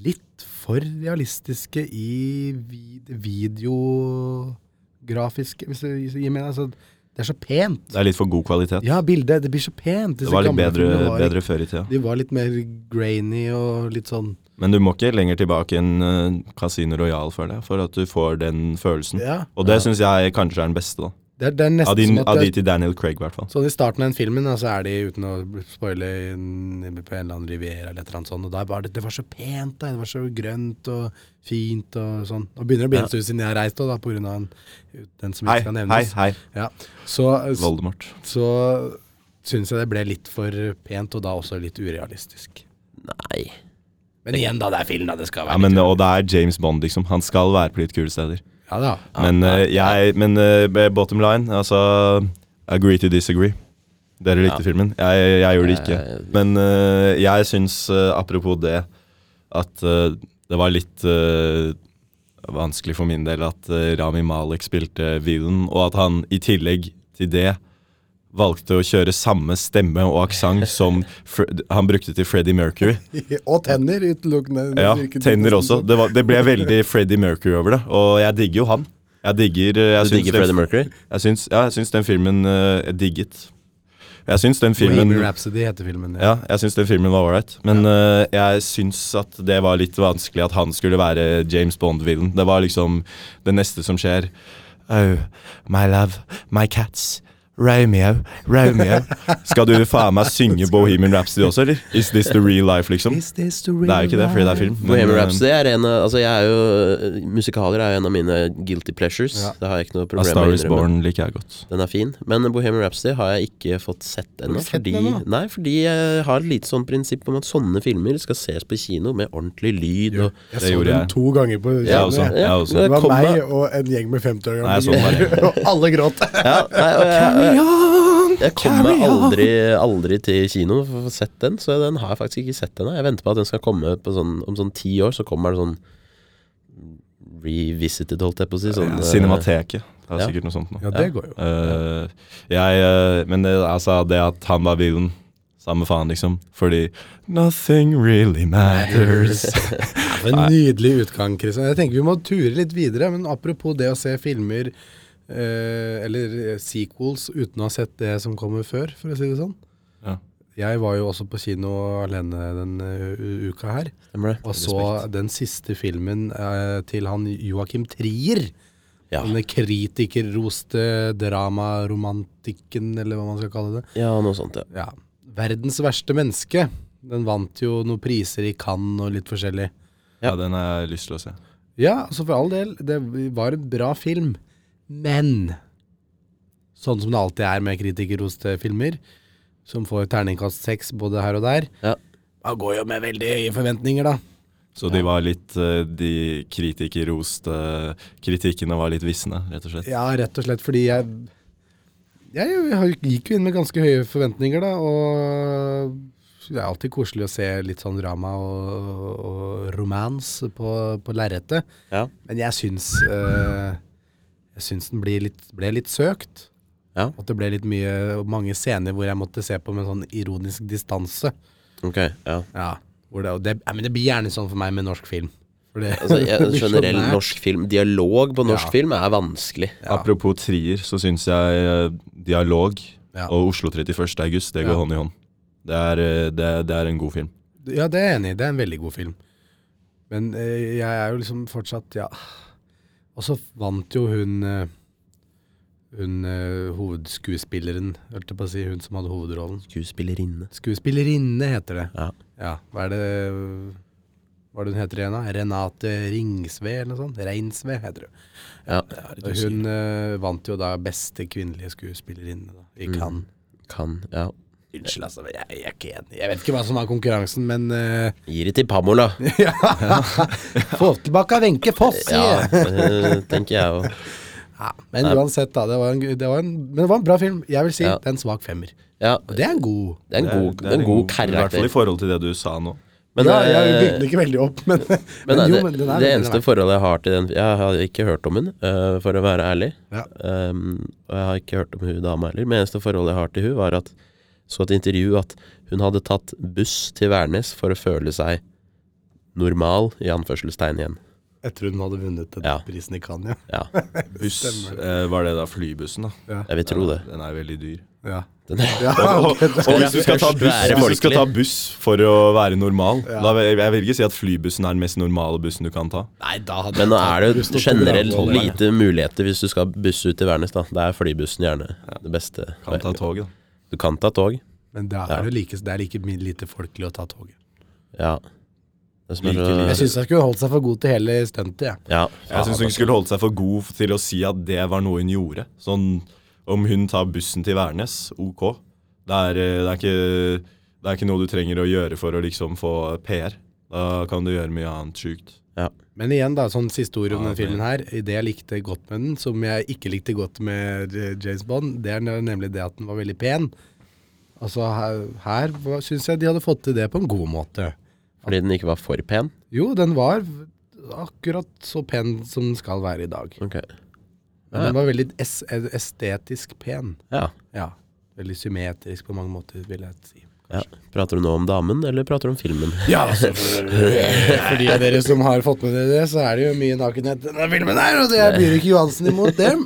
A: litt for realistiske i vid videografiske, hvis du hvis du gir meg altså, Det er så pent.
C: Det er litt for god kvalitet.
A: Ja, bildet. Det blir så pent.
C: Det
A: disse
C: var litt
A: gamle
C: bedre,
A: filmene var litt-
C: bedre før i tida.
A: De var litt mer grainy og litt sånn
C: Men du må ikke lenger tilbake enn eh, Casino Royal for det, for at du får den følelsen.
A: Ja.
C: Og det syns jeg kanskje er den beste, da.
A: Det er, det er
C: Av
A: nesten
C: de,
A: som at
C: av de
A: det,
C: til Daniel Craig, i hvert fall.
A: Sånn i starten av den filmen, da, så er de uten å spoile inn på en eller annen riviera eller et eller annet sånt, og da var det, det var så pent, da. Det var så grønt og fint og sånn. Og begynner det å bli en stund siden jeg har reist òg, da, på grunn av en, den som
C: Hei,
A: ikke skal
C: hei,
A: nevnes.
C: hei.
A: Ja. Så, så,
C: Voldemort.
A: så syns jeg det ble litt for pent, og da også litt urealistisk.
B: Nei.
A: Men igjen, da. Det er film, da. Det skal
C: Ja,
A: være
C: men, og det er James Bond, liksom. Han skal være på litt kule steder.
A: Ja da.
B: Ah,
C: Men, eh, jeg, men eh, bottom line, altså Agree to disagree. Dere likte filmen. Jeg, jeg gjorde det ikke. Men eh, jeg syns, eh, apropos det, at eh, det var litt eh, vanskelig for min del at eh, Rami Malek spilte villain, og at han i tillegg til det valgte å kjøre samme stemme og aksent som Fre han brukte til Freddie Mercury.
A: Og tenner utelukkende.
C: Ja,
A: Virket
C: tenner
A: som-
C: også. Det, var, det ble veldig Freddie Mercury over det, og jeg digger jo han. Jeg digger, eh, jeg
B: Du digger
C: den-
B: Freddie Mercury?
C: Jeg syns, ja, jeg syns den filmen eh, jeg digget. Jeg syns den filmen
A: Bohemian Rhapsody heter filmen.
C: ja, jeg syns den filmen var ålreit, men eh, jeg syns at det var litt vanskelig at han skulle være James Bond-villen. Det var liksom det neste som skjer. Oh, my love, my cats, Romeo, Romeo. Skal du faen meg synge Bohemian Rhapsody også, eller? Is this the real life, liksom?
A: Is this the
C: Det er jo ikke det, fordi det er film. men,
B: Bohemian
C: eh,
B: Rhapsody er en av altså jeg er jo, Musikaler er jo en av mine guilty pleasures.
A: Ja.
B: Det har jeg ikke noe
C: A
B: problem
C: Star
B: med å
C: Is
B: innrømme.
C: Born liker jeg godt.
B: Den er fin. Men Bohemian Rhapsody har jeg ikke fått sett ennå.
A: du sett
B: Fordi,
A: den ennå?
B: nei, fordi jeg har et lite sånn prinsipp om at sånne filmer skal ses på kino med ordentlig lyd. Og,
A: Jeg
C: Det
A: så
C: gjorde
A: den
C: jeg.
A: to ganger på kino.
C: Jeg også. Jeg også.
A: Det var
B: kom meg-
A: meg og en gjeng med 50 år
C: Nei, sånn jeg så den
A: gamle
C: bare.
A: og alle gråt.
B: Ja, nei, og jeg, jeg, jeg kommer aldri, aldri til kino for å få sett den, så den har jeg faktisk ikke sett ennå. Jeg venter på at den skal komme på sånn, om sånn ti år, så kommer det sånn revisited, holdt jeg på å si. Sånn, eh,
C: Cinemateket. Det er
B: Ja.
C: sikkert noe sånt nå.
A: Ja, det går jo.
C: Eh, jeg, eh, men det, altså, det at han var villain, samme faen, liksom. Fordi Nothing really matters.
A: Det var en nydelig utgang, Kristian. Jeg tenker vi må ture litt videre, men apropos det å se filmer eh, eller sequels uten å ha sett det som kommer før, for å si det sånn.
C: Ja.
A: Jeg var jo også på kino alene den eh, u- uka her,
B: stemmer det?
A: og så den siste filmen eh, til han Joakim Trier.
B: Ja.
A: Den kritikerroste dramaromantikken, eller hva man skal kalle det.
B: ja, noe sånt, ja.
A: Ja. 'Verdens verste menneske'. Den vant jo noen priser i Cannes og litt forskjellig.
C: Ja, den har jeg lyst til å se.
A: Ja, altså for all del, det var en bra film. Men sånn som det alltid er med kritikerroste filmer, som får terningkast seks både her og der,
B: Ja.
A: da går jo med veldig høye forventninger, da.
C: Så de var litt eh, De kritikerroste Kritikkene var litt visne, rett og slett.
A: Ja, rett og slett fordi jeg Jeg har- gikk jo inn med ganske høye forventninger, da, og det er alltid koselig å se litt sånn drama og, og romans på, på lerretet.
B: Ja.
A: Men jeg syns eh, Jeg syns den blir litt, ble litt søkt.
B: Ja.
A: At det ble litt mye og mange scener hvor jeg måtte se på med sånn ironisk distanse.
B: Ok, ja.
A: Ja, hvor det, og det, nei, men det blir gjerne sånn for meg med norsk film. For det-
B: Altså, jeg,
C: Liksom
A: det blir sånn så
B: generell
A: nært.
B: norsk film, dialog på norsk
A: Ja.
B: film er vanskelig.
C: Apropos trier, så syns jeg eh, dialog
A: Ja.
C: og Oslo 31. august, det går
A: Ja.
C: hånd i hånd. Det er, eh, det, det er en god film.
A: Ja, det er jeg enig i. Det er en veldig god film. Men eh, jeg er jo liksom fortsatt Ja. Og så vant jo hun eh, Hun eh, hovedskuespilleren, holdt jeg på å si, hun som hadde hovedrollen.
B: Skuespillerinne.
A: Skuespillerinne heter det.
B: Ja.
A: Ja, hva er det Hva er det hun heter igjen, da? Renate Ringsve, eller noe sånt? Reinsve, heter det.
B: Ja.
A: Og Hun eh, vant jo da beste kvinnelige skuespillerinne da,
B: Mm.
A: i Cannes.
B: Kan, ja.
A: Unnskyld, altså. Jeg, jeg er ikke enig. Jeg vet ikke hva som var konkurransen, men eh,
B: Gir det til Pamola.
A: Ja. Få tilbake Wenche Foss,
B: Ja,
A: sier jeg.
B: eh, tenker jeg òg.
A: Ja, men uansett, da. Det var en, det var en, men det var en bra film. Jeg vil si
B: Ja.
A: det er en svak femmer.
B: Ja,
A: Det er en god
B: det er en
C: Det er-
B: god,
C: det er
B: det er en god
C: I hvert fall i
B: karakter.
C: forhold til det du sa nå.
B: Men,
A: ja, Jeg
B: eh,
A: bygde den ikke veldig opp, men, men,
B: Men det,
A: jo,
B: det-
A: men den er
B: det
A: veldig
B: eneste
A: verdt.
B: forholdet jeg har til den Jeg har ikke hørt om hun, eh, for å være ærlig.
A: Ja.
B: Um, og jeg har ikke hørt om hun dama heller. Men eneste forholdet jeg har til hun var at så et intervju at hun hadde tatt buss til Værnes for å føle seg normal, i anførselstegn igjen.
A: Jeg tror hun hadde vunnet den
B: Ja.
A: prisen i Cannes.
B: Ja,
C: Buss, eh, var det da flybussen, da?
B: jeg vil tro det.
C: Den er veldig dyr.
A: Ja.
B: Den er,
A: Ja,
C: Og,
A: ok, det-
C: og hvis, du skal ta
B: Først
C: buss,
B: være
C: hvis du skal ta
B: folkelig.
C: buss for å være normal da vil, Jeg vil ikke si at flybussen er den mest normale bussen du kan ta.
A: Nei, da hadde
B: men nå er det
A: Bussen og
B: generelt
A: Colorado, det er
B: lite muligheter hvis du skal busse ut til Værnes. da Det er flybussen gjerne det beste.
C: Kan ta toget, da.
B: Du kan ta tog.
A: Men det er jo like, det er like min- lite folkelig å ta toget.
B: Ja. Det som er
C: Like
B: så-
A: Jeg syns jeg skulle holdt seg for god til hele stuntet, jeg.
B: ja.
C: Jeg syns hun skulle holdt seg for god til å si at det var noe hun gjorde. Sånn om hun tar bussen til Værnes, ok. Det er, eh, det er, ikke, det er ikke noe du trenger å gjøre for å liksom få PR. Da kan du gjøre mye annet sjukt.
B: ja.
A: Men igjen, da, sånn siste ord om
C: Ja,
A: denne filmen her. I Det jeg likte godt med den, som jeg ikke likte godt med eh, James Bond, det er nemlig det at den var veldig pen. Altså, her, her syns jeg de hadde fått til det på en god måte.
B: Fordi den ikke var for pen.
A: Jo, den var akkurat så pen som den skal være i dag.
B: Ok.
A: Men den var veldig es estetisk pen.
B: Ja.
A: Ja. Veldig symmetrisk på mange måter, vil jeg si.
B: ja. Prater du nå om damen, eller prater du om filmen?
A: Ja, altså, for, for de av dere som har fått med dere det, så er det jo mye nakenhet i denne filmen her, og det er Bjørk Johansen imot dem.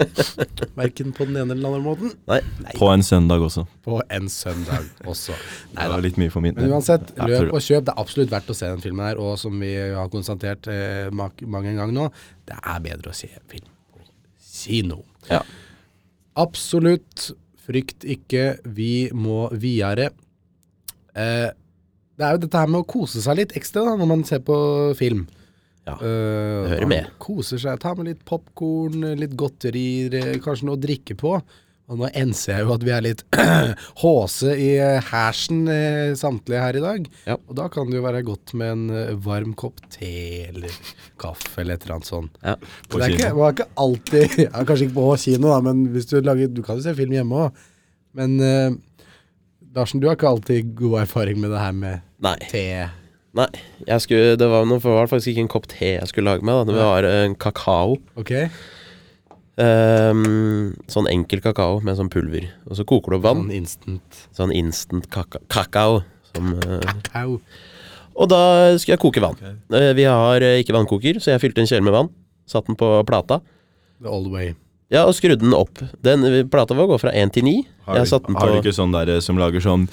A: Verken på den ene eller den andre måten.
B: Nei.
C: På en søndag også.
A: På en søndag også.
C: Det var litt mye for min
A: Men uansett,
C: Ja, tror
A: løp
C: det.
A: og kjøp. Det er absolutt verdt å se den filmen her, og som vi har konstatert eh, mak- mange ganger nå, det er bedre å se film på kino.
B: Ja.
A: Absolutt. Frykt ikke. Vi må videre. Eh, det er jo dette her med å kose seg litt ekstra da, når man ser på film.
B: Ja,
A: Eh,
B: det hører
A: man
B: med.
A: Koser seg. Ta med litt popkorn, litt godterier, eh, kanskje noe å drikke på. Og nå enser jeg jo at vi er litt håse i eh, hersen eh, samtlige her i dag.
B: Ja.
A: Og da kan det jo være godt med en eh, varm kopp te eller kaffe eller et eller annet sånt.
B: Ja.
C: På
A: det er ikke,
C: kino.
A: man er ikke alltid ja, Kanskje ikke på kino, da, men hvis du lager Du kan jo se film hjemme òg. Men eh, Larsen, du har ikke alltid god erfaring med det her med
B: Nei.
A: te.
B: Nei. Jeg skulle, det var, noe, for det var faktisk ikke en kopp te jeg skulle lage meg. Da. Det var eh, en kakao.
A: Ok?
B: Ehm, sånn enkel kakao med sånn pulver. Og så koker du opp vann.
A: Sånn instant
B: Sånn instant kaka kakao. Som, eh,
A: Au.
B: og da skulle jeg koke vann. Eh, vi har eh, ikke vannkoker, så jeg fylte en kjele med vann. Satt den på plata.
A: The old way.
B: Ja, og skrudde den opp. Den eh, plata vår går fra 1 til 9.
C: Har,
B: jeg satte den
C: har du
B: på
C: ikke sånn der eh, som lager sånn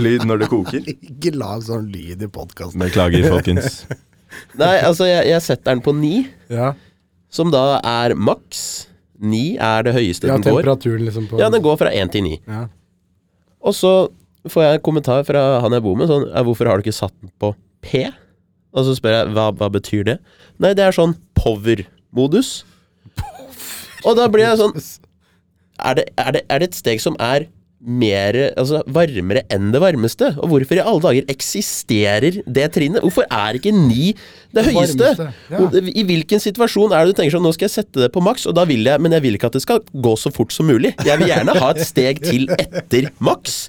C: Lyd når det koker?
A: Ikke lag sånn lyd i podkasten.
C: Beklager, folkens.
B: Nei, altså, jeg, jeg setter den på 9,
A: Ja.
B: som da er maks. 9 er det høyeste
A: ja,
B: den går.
A: temperaturen liksom på
B: Ja, den går fra 1 til 9.
A: Ja.
B: Og så får jeg en kommentar fra han jeg bor med, sånn «Ja, 'Hvorfor har du ikke satt den på P?' Og så spør jeg hva, hva betyr det? Nei, det er sånn power-modus. Og da blir jeg sånn er det, er, det, er det et steg som er mer, altså varmere enn det varmeste? Og hvorfor i alle dager eksisterer det trinnet? Hvorfor er ikke ni det høyeste?
A: varmeste, ja.
B: Hvor- I hvilken situasjon er det du tenker sånn Nå skal jeg sette det på maks, og da vil jeg, men jeg vil ikke at det skal gå så fort som mulig. Jeg vil gjerne ha et steg til etter maks.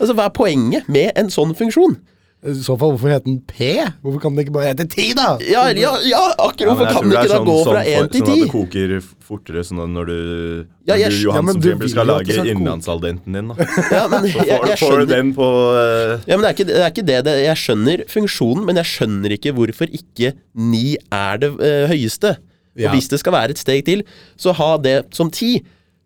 B: Altså, Hva er poenget med en sånn funksjon?
A: I så fall, hvorfor het den P? Hvorfor kan den ikke bare hete 10, da?
B: Ja, ja, ja akkurat hvorfor
C: jeg
B: kan
C: tror
B: det
C: er
B: ikke da
C: sånn-
B: gå fra
C: sånn for-
B: én til
C: Sånn at
B: ti?
C: det koker f- fortere, sånn at når du,
B: Ja, jeg
C: når
A: ja, men
C: du
B: skj-
C: Johansen
A: du
C: for eksempel
A: vil jo at
C: skal
A: det
C: lage
A: skal koke.
C: innlandsaldenten din, da.
B: Ja, men jeg,
C: Får,
B: jeg
C: får
B: skjønner
C: du den på eh,
B: Ja, men det er, ikke, det er ikke det det Jeg skjønner funksjonen, men jeg skjønner ikke hvorfor ikke ni er det eh, høyeste. Og
A: Ja.
B: hvis det skal være et steg til, så ha det som ti.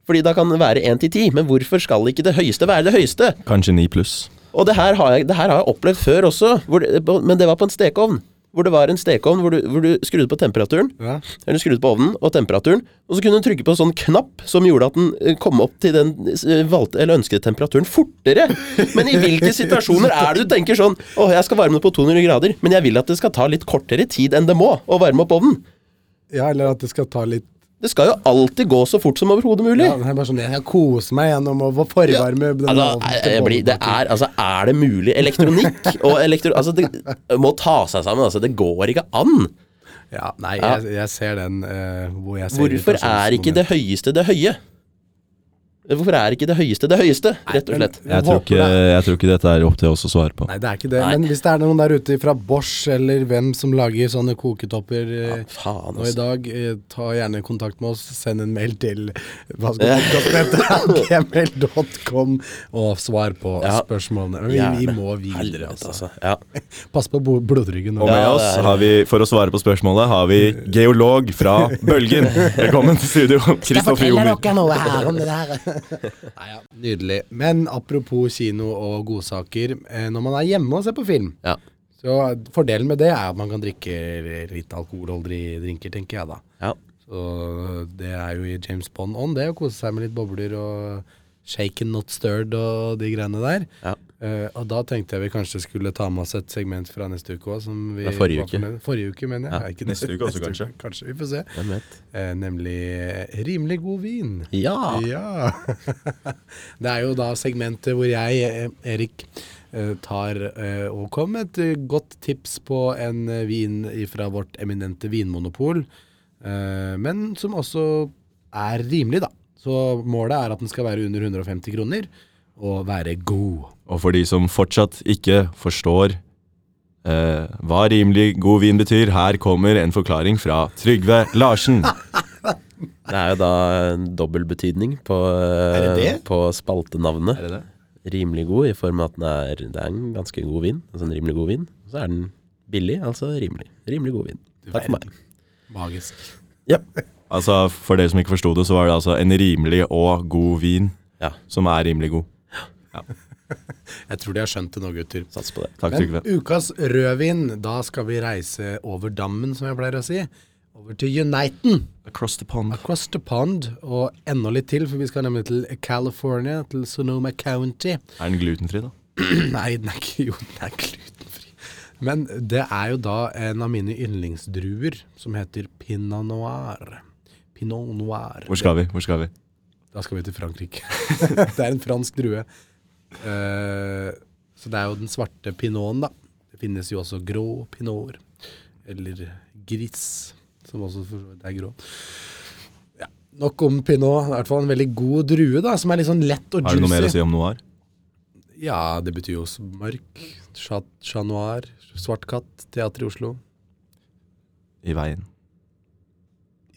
B: Fordi da kan det være én til ti. Men hvorfor skal ikke det høyeste være det høyeste?
C: Kanskje 9 pluss.
B: Og det her har jeg, det her har jeg opplevd før også, hvor det, men det var på en stekeovn. Hvor det var en stekeovn hvor du, hvor du skrudde på temperaturen.
A: Ja.
B: Eller du skrudde på ovnen og temperaturen, og så kunne du trykke på en sånn knapp som gjorde at den eh, kom opp til den eh, valgte eller ønskede temperaturen fortere. Men i hvilke situasjoner er det du tenker sånn Å, jeg skal varme det på 200 grader, men jeg vil at det skal ta litt kortere tid enn det må å varme opp ovnen.
A: ja, eller at det skal ta litt
B: Det skal jo alltid gå så fort som overhodet mulig.
A: ja, det er bare sånn, Jeg koser meg gjennom å forvarme denne
B: Altså,
A: ovnen
B: jeg-
A: til
B: jeg blir, det
A: bollekaker.
B: er, altså, er det mulig? Elektronikk og elektro... Altså, det må ta seg sammen. Altså, det går ikke an.
A: Ja, nei,
B: Ja.
A: Jeg, jeg ser den eh, hvor jeg ser sånn
B: Hvorfor er ikke det høyeste det høye? Hvorfor er ikke det høyeste det høyeste, rett og slett?
C: Jeg tror, ikke, jeg tror ikke dette er opp til oss å svare på.
A: Nei, det er ikke det. Men hvis det er noen der ute fra Bosch eller hvem som lager sånne koketopper eh,
B: Faen,
A: nå i
B: altså.
A: dag, eh, ta gjerne kontakt med oss. Send en mail til hva skal podcasten hete? gmail.com og svar på
B: Ja.
A: spørsmålene. Men vi, vi
B: Gjerne.
A: må videre,
B: Helvete,
A: altså.
B: altså. Ja.
A: Pass på bo- blodryggen.
C: Og
A: nå.
C: med
B: Ja,
C: oss
B: det er-
C: har vi, for å svare på spørsmålet, har vi geolog fra Bølgen. Velkommen til studio, Kristoffer
D: Forteller
C: Joner.
D: dere noe her om det der?
A: Nei, ja. Nydelig. Men apropos kino og godsaker. eh, Når man er hjemme og ser på film,
B: Ja.
A: så fordelen med det er at man kan drikke litt alkoholholdige drinker, tenker jeg da.
B: Ja.
A: Så det er jo i James Bond ånd, det å kose seg med litt bobler og shaken not stirred og de greiene der.
B: Ja.
A: Eh, og da tenkte jeg vi kanskje skulle ta med oss et segment fra neste uke òg.
B: Fra forrige uke.
A: Forrige uke, mener jeg.
B: Ja.
A: Er ikke
C: Neste uke også, kanskje.
A: Kanskje, vi får se.
B: Hvem vet?
A: Eh, nemlig eh, rimelig god vin.
B: Ja.
A: Ja. det er jo da segmentet hvor jeg, eh, Erik, eh, tar eh, og kom med et eh, godt tips på en eh, vin fra vårt eminente vinmonopol, eh, men som også er rimelig, da. Så målet er at den skal være under 150 kroner, og være god.
C: Og for de som fortsatt ikke forstår eh, hva rimelig god vin betyr, her kommer en forklaring fra Trygve Larsen.
B: Det er jo da en dobbel betydning på,
A: Er det det?
B: på spaltenavnet.
A: det det?
B: Rimelig god i form av at den er, det er en ganske god vin. Altså en rimelig god vin. Og så er den billig, altså rimelig. Rimelig god vin. Takk for meg.
A: Magisk.
B: Ja.
C: Altså, For dere som ikke forsto det, så var det altså en rimelig og god vin
B: ja.
C: som er rimelig god.
A: Jeg tror de har skjønt det nå, gutter.
B: Sats på det.
C: Takk,
A: Men
C: Trygve.
A: ukas rødvin, da skal vi reise over dammen, som jeg pleier å si. Over til Uniten.
C: Across the pond.
A: Across the pond, og enda litt til, for vi skal nemlig til California, til Sonoma County.
C: Er den glutenfri, da?
A: Nei, den er ikke, jo, den er glutenfri. Men det er jo da en av mine yndlingsdruer som heter pinot noir. Pinot noir.
C: Hvor skal vi? Hvor skal vi?
A: Da skal vi til Frankrike. det er en fransk drue. Eh, så det er jo den svarte pinoten, da. Det finnes jo også grå pinoter. Eller gris, som også for så vidt er grå. Ja, nok om pinot. I hvert fall en veldig god drue, da, som er litt sånn lett og
C: Har
A: juicy.
C: du noe mer å si om noir?
A: Ja, det betyr jo også mørk. Chat, Chat noir. Svart katt. Teater i Oslo.
C: I veien.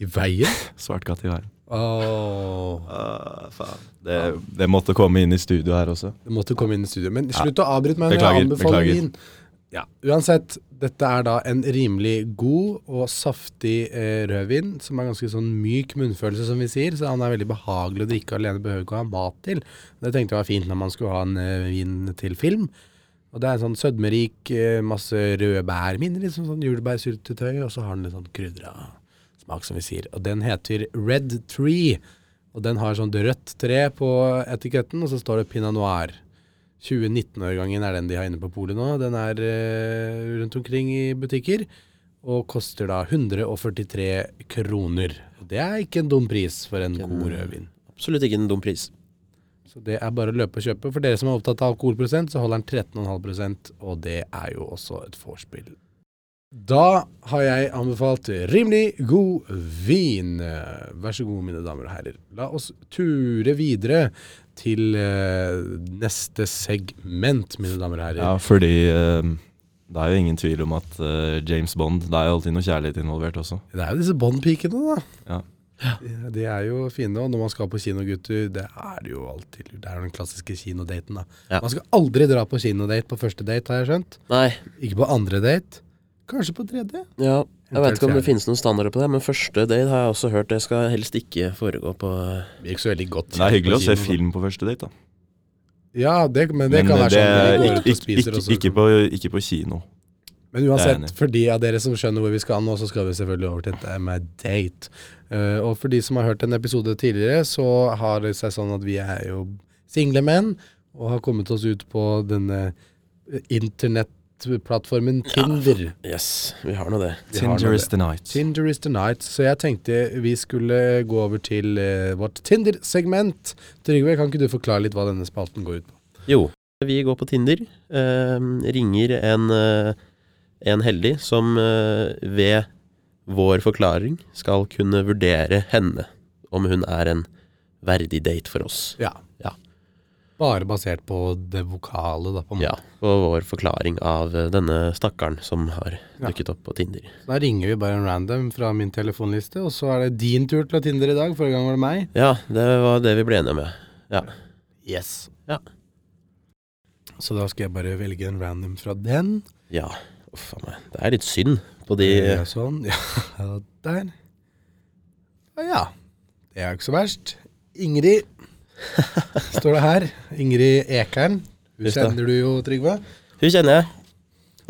A: I veien?
C: Svart katt i veien.
A: Åh
C: Ah, faen. Det, det måtte komme inn i studio her også.
A: Du måtte komme inn i studio. Men slutt å avbryte meg når
C: Beklager,
A: jeg anbefaler
C: beklager.
A: vin. Ja, uansett, dette er da en rimelig god og saftig eh, rødvin, som er ganske sånn myk munnfølelse, som vi sier. Så han er veldig behagelig å drikke alene, behøver ikke å ha mat til. Det tenkte jeg var fint når man skulle ha en eh, vin til film. Og det er en sånn sødmerik, eh, masse røde bær, minner litt som sånn jordbærsyltetøy, og så har den litt sånn krydra smak, som vi sier. Og den heter Red Tree, og den har sånn rødt tre på etiketten, og så står det Pinot Noir. 2019-årgangen er den de har inne på polet nå. Den er eh, rundt omkring i butikker, og koster da 143 kroner. Og Det er ikke en dum pris for en god rødvin.
B: Absolutt ikke en dum pris.
A: Så det er bare å løpe og kjøpe. For dere som er opptatt av alkoholprosent, så holder den 13,5 og det er jo også et vorspiel. Da har jeg anbefalt rimelig god vin. Vær så god, mine damer og herrer. La oss ture videre til eh, neste segment, mine damer og herrer.
C: Ja, fordi eh, det er jo ingen tvil om at eh, James Bond Det er jo alltid noe kjærlighet involvert også.
A: Det er jo disse Bond-pikene, da.
C: Ja.
A: De- De er jo fine. Og når man skal på kino, gutter, det er det jo alltid Det er jo den klassiske kinodaten, da.
B: Ja.
A: Man skal aldri dra på kinodate på første date, har jeg skjønt.
B: Nei,
A: Ikke på andre date. Kanskje på tredje.
B: ja. Jeg
A: Eventuelt
B: vet ikke om det
A: fjerde.
B: finnes noen standarder på det, men første date har jeg også hørt det skal helst ikke foregå på
A: Det gikk så veldig godt.
C: Men det er hyggelig å se
A: kino, da.
C: film på første date, da.
A: Ja, det, men det
C: Men
A: kan
C: eh,
A: være sånn. når vi går
C: ikke,
A: ut og
C: ikke,
A: spiser, liksom. og
C: ikke,
A: så-
C: ikke, på, ikke på kino.
A: Men
C: Det er
A: uansett,
C: jeg enig i.
A: for de av dere som skjønner hvor vi skal nå, så skal vi selvfølgelig over til dette med date. Eh, og for de som har hørt en episode tidligere, så har det seg sånn at vi er jo single menn, og har kommet oss ut på denne eh, internettplattformen Tinder.
B: Yes, vi har nå det.
A: Vi har nå det.
C: the night.
A: Tinder is the night. Så jeg tenkte vi skulle gå over til eh, vårt Tinder-segment. Trygve, kan ikke du forklare litt hva denne spalten går ut på?
B: Jo, vi går på Tinder. ehm, eh, ringer en, eh, en heldig som eh, ved Vår forklaring skal kunne vurdere henne om hun er en verdig date for oss.
A: Ja.
B: Ja.
A: Bare basert på det vokale, da, på en måte.
B: Ja, og vår forklaring av eh, denne stakkaren som har dukket opp på Tinder.
A: Da ringer vi bare en random fra min telefonliste, og så er det din tur til å Tinder i dag. Forrige gang var det meg.
B: Ja, det var det vi ble enige med. Ja.
A: Yes.
B: Ja.
A: Så da skal jeg bare velge en random fra den.
B: ja. Uff a meg. Det er litt synd på de
A: Gjør jeg Sånn. Ja, der. Ja, ja. Det er jo ikke så verst. Ingrid står det her. Ingrid Ekern. Hun
B: Just det.
A: kjenner du jo, Trygve.
B: Hun kjenner jeg.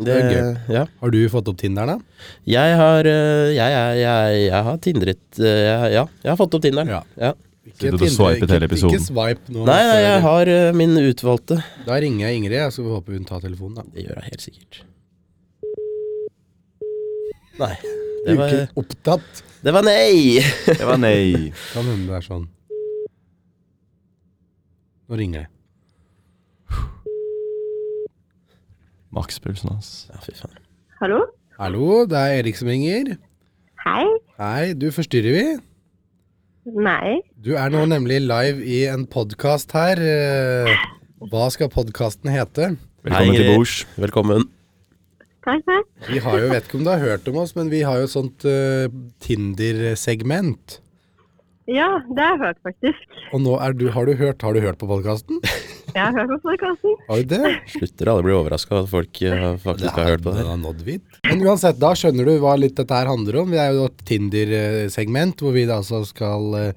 B: Det,
A: Det er
B: ja.
A: Har du fått opp Tinderen, da?
B: Jeg har eh, Jeg, jeg, jeg, jeg har tindret eh, jeg, Ja, jeg har fått opp Tinderen.
A: Ja.
B: Ja.
C: Sitter du og swipet hele
A: ikke,
C: episoden?
A: ikke swipe nå.
B: Nei, nei,
A: før-
B: jeg har eh, min utvalgte.
A: Da ringer jeg Ingrid, og så håper hun tar telefonen, da.
B: Det gjør jeg helt sikkert. Nei. Det
A: Det
B: var,
A: Ikke opptatt.
B: det var nei!
C: Det var nei.
A: Kan hende det er sånn. Nå ringer jeg.
C: Makspulsen hans.
B: Ja, fy faen.
E: Hallo?
A: Hallo, det er Erik som ringer.
E: Hei?
A: Hei, du forstyrrer vi.
E: Nei.
A: Du er nå nemlig live i en podkast her. eh, Hva skal podkasten hete?
C: Velkommen
B: Hei,
C: til
B: Ingrid.
C: bords.
B: Velkommen.
E: Takk, takk.
A: Vi har jo, vet ikke om du har hørt om oss, men vi har jo et sånt eh, Tinder-segment.
E: Ja, det har jeg hørt, faktisk.
A: Og nå er du, har du hørt, har du hørt på podkasten?
E: Jeg har hørt på podkasten.
A: Har du det?
B: Slutter alle å bli overraska at folk eh, faktisk har hørt på det her.
A: har nådd vidt. Men uansett, da skjønner du hva litt dette her handler om. Vi er jo et Tinder-segment hvor vi da altså skal eh,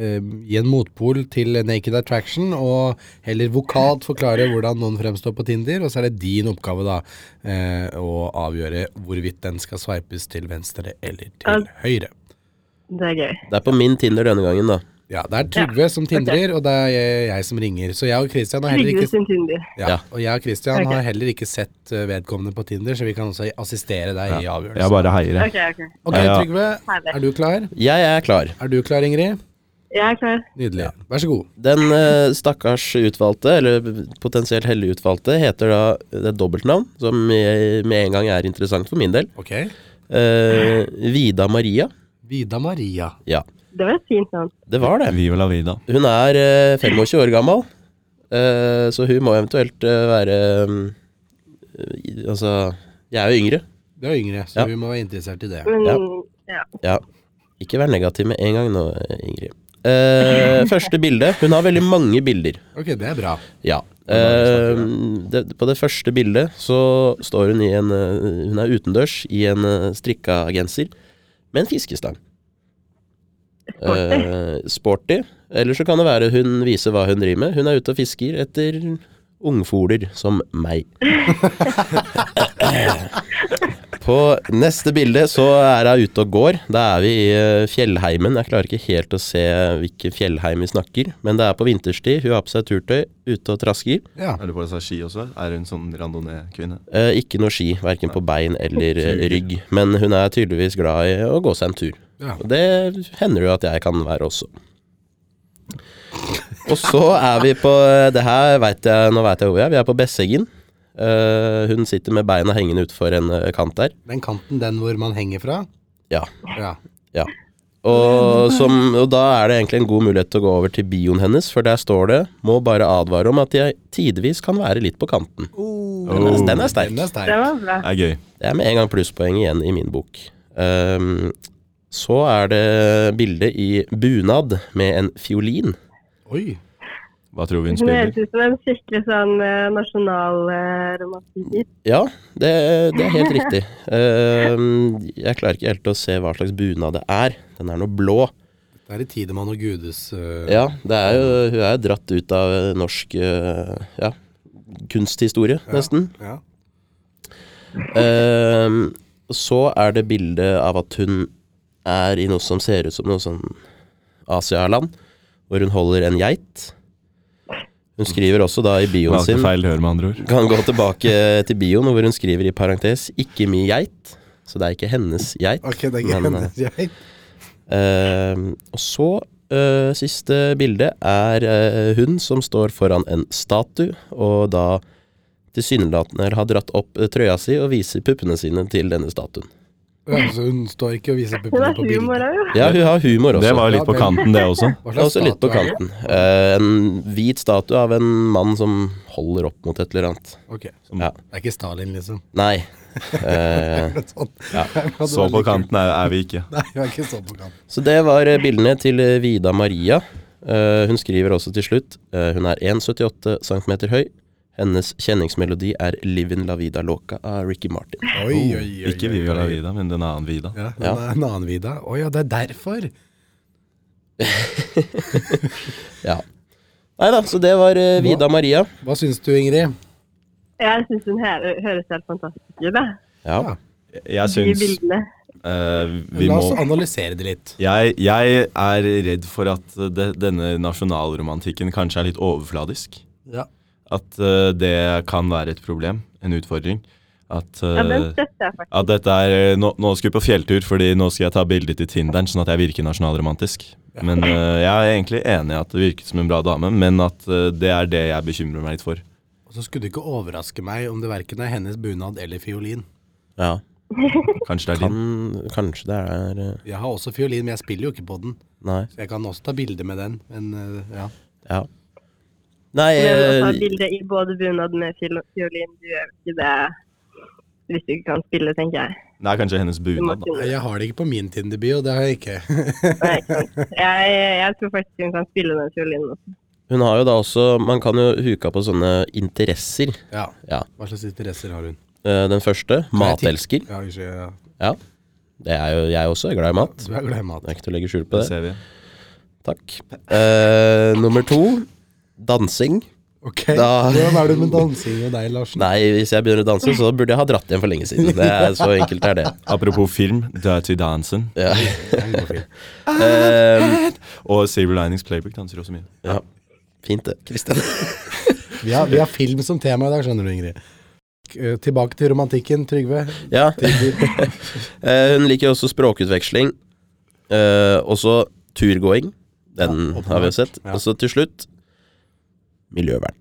A: eh, gi en motpol til Naked Attraction og heller vokalt forklare hvordan noen fremstår på Tinder, og så er det din oppgave da eh, å avgjøre hvorvidt den skal sveipes til venstre eller til høyre.
E: Det er gøy.
B: Det er på min Tinder denne gangen, da.
A: Ja, det er Trygve som tindrer, og det er jeg, jeg som ringer. Så jeg og Christian har heller
E: Trygve
A: ikke
E: sin Tinder.
A: ja,
B: Ja.
A: og jeg og Christian
E: Ok.
A: har heller ikke sett eh, vedkommende på Tinder, så vi kan også assistere deg i avgjørelsen.
C: Jeg bare heier, jeg.
E: Ok, ok.
A: Ok,
C: Ja, ja.
A: Trygve.
E: Herlig.
A: Er du klar?
B: Jeg er klar.
A: Er du klar, Ingrid?
E: Jeg er klar.
A: Nydelig. Vær så god.
B: Den eh, stakkars utvalgte, eller potensielt hellig utvalgte, heter da det er et dobbeltnavn, som jeg, med en gang er interessant for min del.
A: Ok.
B: Eh, Vida Maria.
A: Vida Maria.
B: Ja,
E: Det var et fint navn.
B: det var det.
C: Viola Vida.
B: Hun er eh, 25 år gammel, eh, så hun må eventuelt eh, være mm, i- Altså, jeg er jo yngre.
A: Det var yngre, så
B: Ja.
A: vi må være interessert i det.
E: Men
B: Ja.
E: ja.
B: Ja. Ikke vær negativ med en gang nå, Ingrid. Eh, første bilde. Hun har veldig mange bilder.
A: Ok, det er bra.
B: Ja.
C: er det vi
B: Eh, det, på det første bildet så står hun i en eh, Hun er utendørs i en eh, strikka genser med en fiskestang.
E: Sporty.
B: Eh, sporty. Eller så kan det være hun viser hva hun driver med. Hun er ute og fisker etter ungfoler som meg. På neste bilde så er hun ute og går. Da er vi i eh, fjellheimen. Jeg klarer ikke helt å se hvilken fjellheim vi snakker, men det er på vinterstid. Hun har på seg turtøy, ute og trasker.
A: Ja.
C: Er du på deg ski også? Er hun sånn randonee-kvinne?
B: Eh, ikke noe ski, verken på bein eller eh, rygg, men hun er tydeligvis glad i å gå seg en tur.
A: Ja.
B: Og det hender jo at jeg kan være også. Og så er vi på eh, Det her vet jeg, nå veit jeg hvor jeg er. Vi er på Besseggen. Eh, hun sitter med beina hengende utfor en eh, kant der.
A: Den kanten, den hvor man henger fra.
B: Ja.
A: Ja.
B: ja. Og, som, og da er det egentlig en god mulighet til å gå over til bioen hennes, for der står det 'Må bare advare om at jeg tidvis kan være litt på kanten'. Den er, Oh. den er sterk.
A: Den er
E: Det
A: sterk.
E: var bra.
C: Det er gøy.
B: Det er med en gang plusspoeng igjen i min bok. Ehm, så er det bilde i bunad med en fiolin.
A: Oi.
C: Hva tror vi hun
E: Hun høres
C: spiller?
E: ut som en skikkelig sånn eh, nasjonal eh, romantiker.
B: Ja, det, det er helt riktig. Ehm, jeg klarer ikke helt å se hva slags bunad det er. Den er noe blå.
A: Det er i Tidemann og Gudes eh,
B: Ja, det er jo, hun er jo dratt ut av eh, norsk eh, ja, kunsthistorie, nesten.
A: ja.
B: Ehm, så er det bilde av at hun er i noe som ser ut som noe sånn Asialand, hvor hun holder en geit. Hun skriver også da i bioen
C: Valgte
B: sin
C: feil hør, med andre ord.
B: Kan gå tilbake til bioen, hvor hun skriver i parentes 'ikke mi geit'. Så det er ikke hennes geit.
A: Ok, det er
B: men, eh,
A: greit. Jeg-
B: ehm, og så eh, siste bilde er eh, hun som står foran en statue, og da tilsynelatende har dratt opp eh, trøya si og viser puppene sine til denne statuen.
A: Ja, så hun står ikke og viser
E: Hun
A: puppene
E: er
A: på
E: humor
A: bildet.
E: òg, jo.
B: Ja, hun har humor også.
C: Det var jo litt
A: Ja,
C: på
A: vel.
C: kanten, det også.
A: Hva
B: Det er også litt
A: statue
B: på
A: er det?
B: kanten. Eh, en hvit statue av en mann som holder opp mot et eller annet.
A: Ok.
B: Ja.
A: Det er ikke Stalin, liksom.
B: Nei. Eh,
A: Sånn. Ja,
C: Så på kanten er, er vi ikke.
A: Nei, det er ikke så på kanten.
B: så det var eh, bildene til eh, Vida Maria. Eh, hun skriver også til slutt eh, Hun er 1,78 cm høy. Hennes kjenningsmelodi er 'Livin la vida loca' av Ricky Martin.
A: Oi, oi, oi. oi,
C: Oh, Ikke
A: oi.
C: Viva la vida, men den annen vida.
A: Ja, den
B: Ja.
A: er en annen Vida. Å ja, det er derfor.
B: Ja. Nei da, så det var eh, Vida Maria.
A: Hva syns du, Ingrid?
E: Jeg syns hun her, høres helt fantastisk ut. jeg.
B: Ja.
C: Jeg
E: De
C: syns
E: bildene.
C: eh, vi
A: La oss
C: må
A: analysere det litt.
C: jeg, jeg er redd for at eh, det, denne nasjonalromantikken kanskje er litt overfladisk.
A: Ja.
C: At eh, det kan være et problem, en utfordring. At,
E: Ja, den
C: eh,
E: støtter jeg faktisk.
C: at dette er eh, nå, nå skal vi på fjelltur, fordi nå skal jeg ta bilde til Tinderen, sånn at jeg virker nasjonalromantisk. Men eh, jeg er egentlig enig i at det virket som en bra dame, men at eh, det er det jeg bekymrer meg litt for.
A: Og så skulle det ikke overraske meg om det verken er hennes bunad eller fiolin.
B: ja.
C: Kanskje det er din.
B: Kan, kanskje det er eh,
A: Jeg har også fiolin, men jeg spiller jo ikke på den.
B: Nei.
A: Så jeg kan også ta bilde med den, men eh, ja.
B: Ja. Nei
E: Men å ta
B: eh,
E: bilde i både bunad med fiol- fiolin, du gjør ikke det hvis du ikke kan spille, tenker jeg.
C: Det er kanskje hennes
E: Du må
C: bunad. da.
A: Nei,
E: kunne.
A: Jeg har det ikke på min Tinder-bio, det har jeg ikke.
E: Nei, ikke sant. Jeg, jeg tror faktisk hun kan spille den fiolinen også.
B: Hun har jo da også Man kan jo huka på sånne interesser.
A: ja.
B: Ja.
A: Hva slags interesser har hun?
B: Eh, Den første, matelsker.
A: Ja, ikke, ja.
B: Ja. Det er jo jeg også, er glad i mat.
A: Du er glad i mat.
B: Det er ikke til å legge skjul på
C: Det
B: det.
C: ser vi.
B: Takk. Eh, nummer to, dansing.
A: Ok,
B: Da-
A: Hvordan er det med dansing og deg, Larsen?
B: Nei, hvis jeg begynner å danse, så burde jeg ha dratt hjem for lenge siden. Det er Så enkelt er det.
C: Apropos film, Dirty Dancing
B: Ja.
A: Den går fint.
B: Eh,
C: og Silver Linings Playbook danser også mye.
B: ja. Fint det, Kristian.
A: Vi, har, vi har film som tema i dag, skjønner du, Ingrid. K- eh, Tilbake til romantikken, Trygve.
B: Ja.
A: Tinder.
B: Eh, hun liker også språkutveksling. Eh, også turgåing. Den
A: Ja,
B: har vi jo sett.
A: ja.
B: Og så til slutt miljøvern.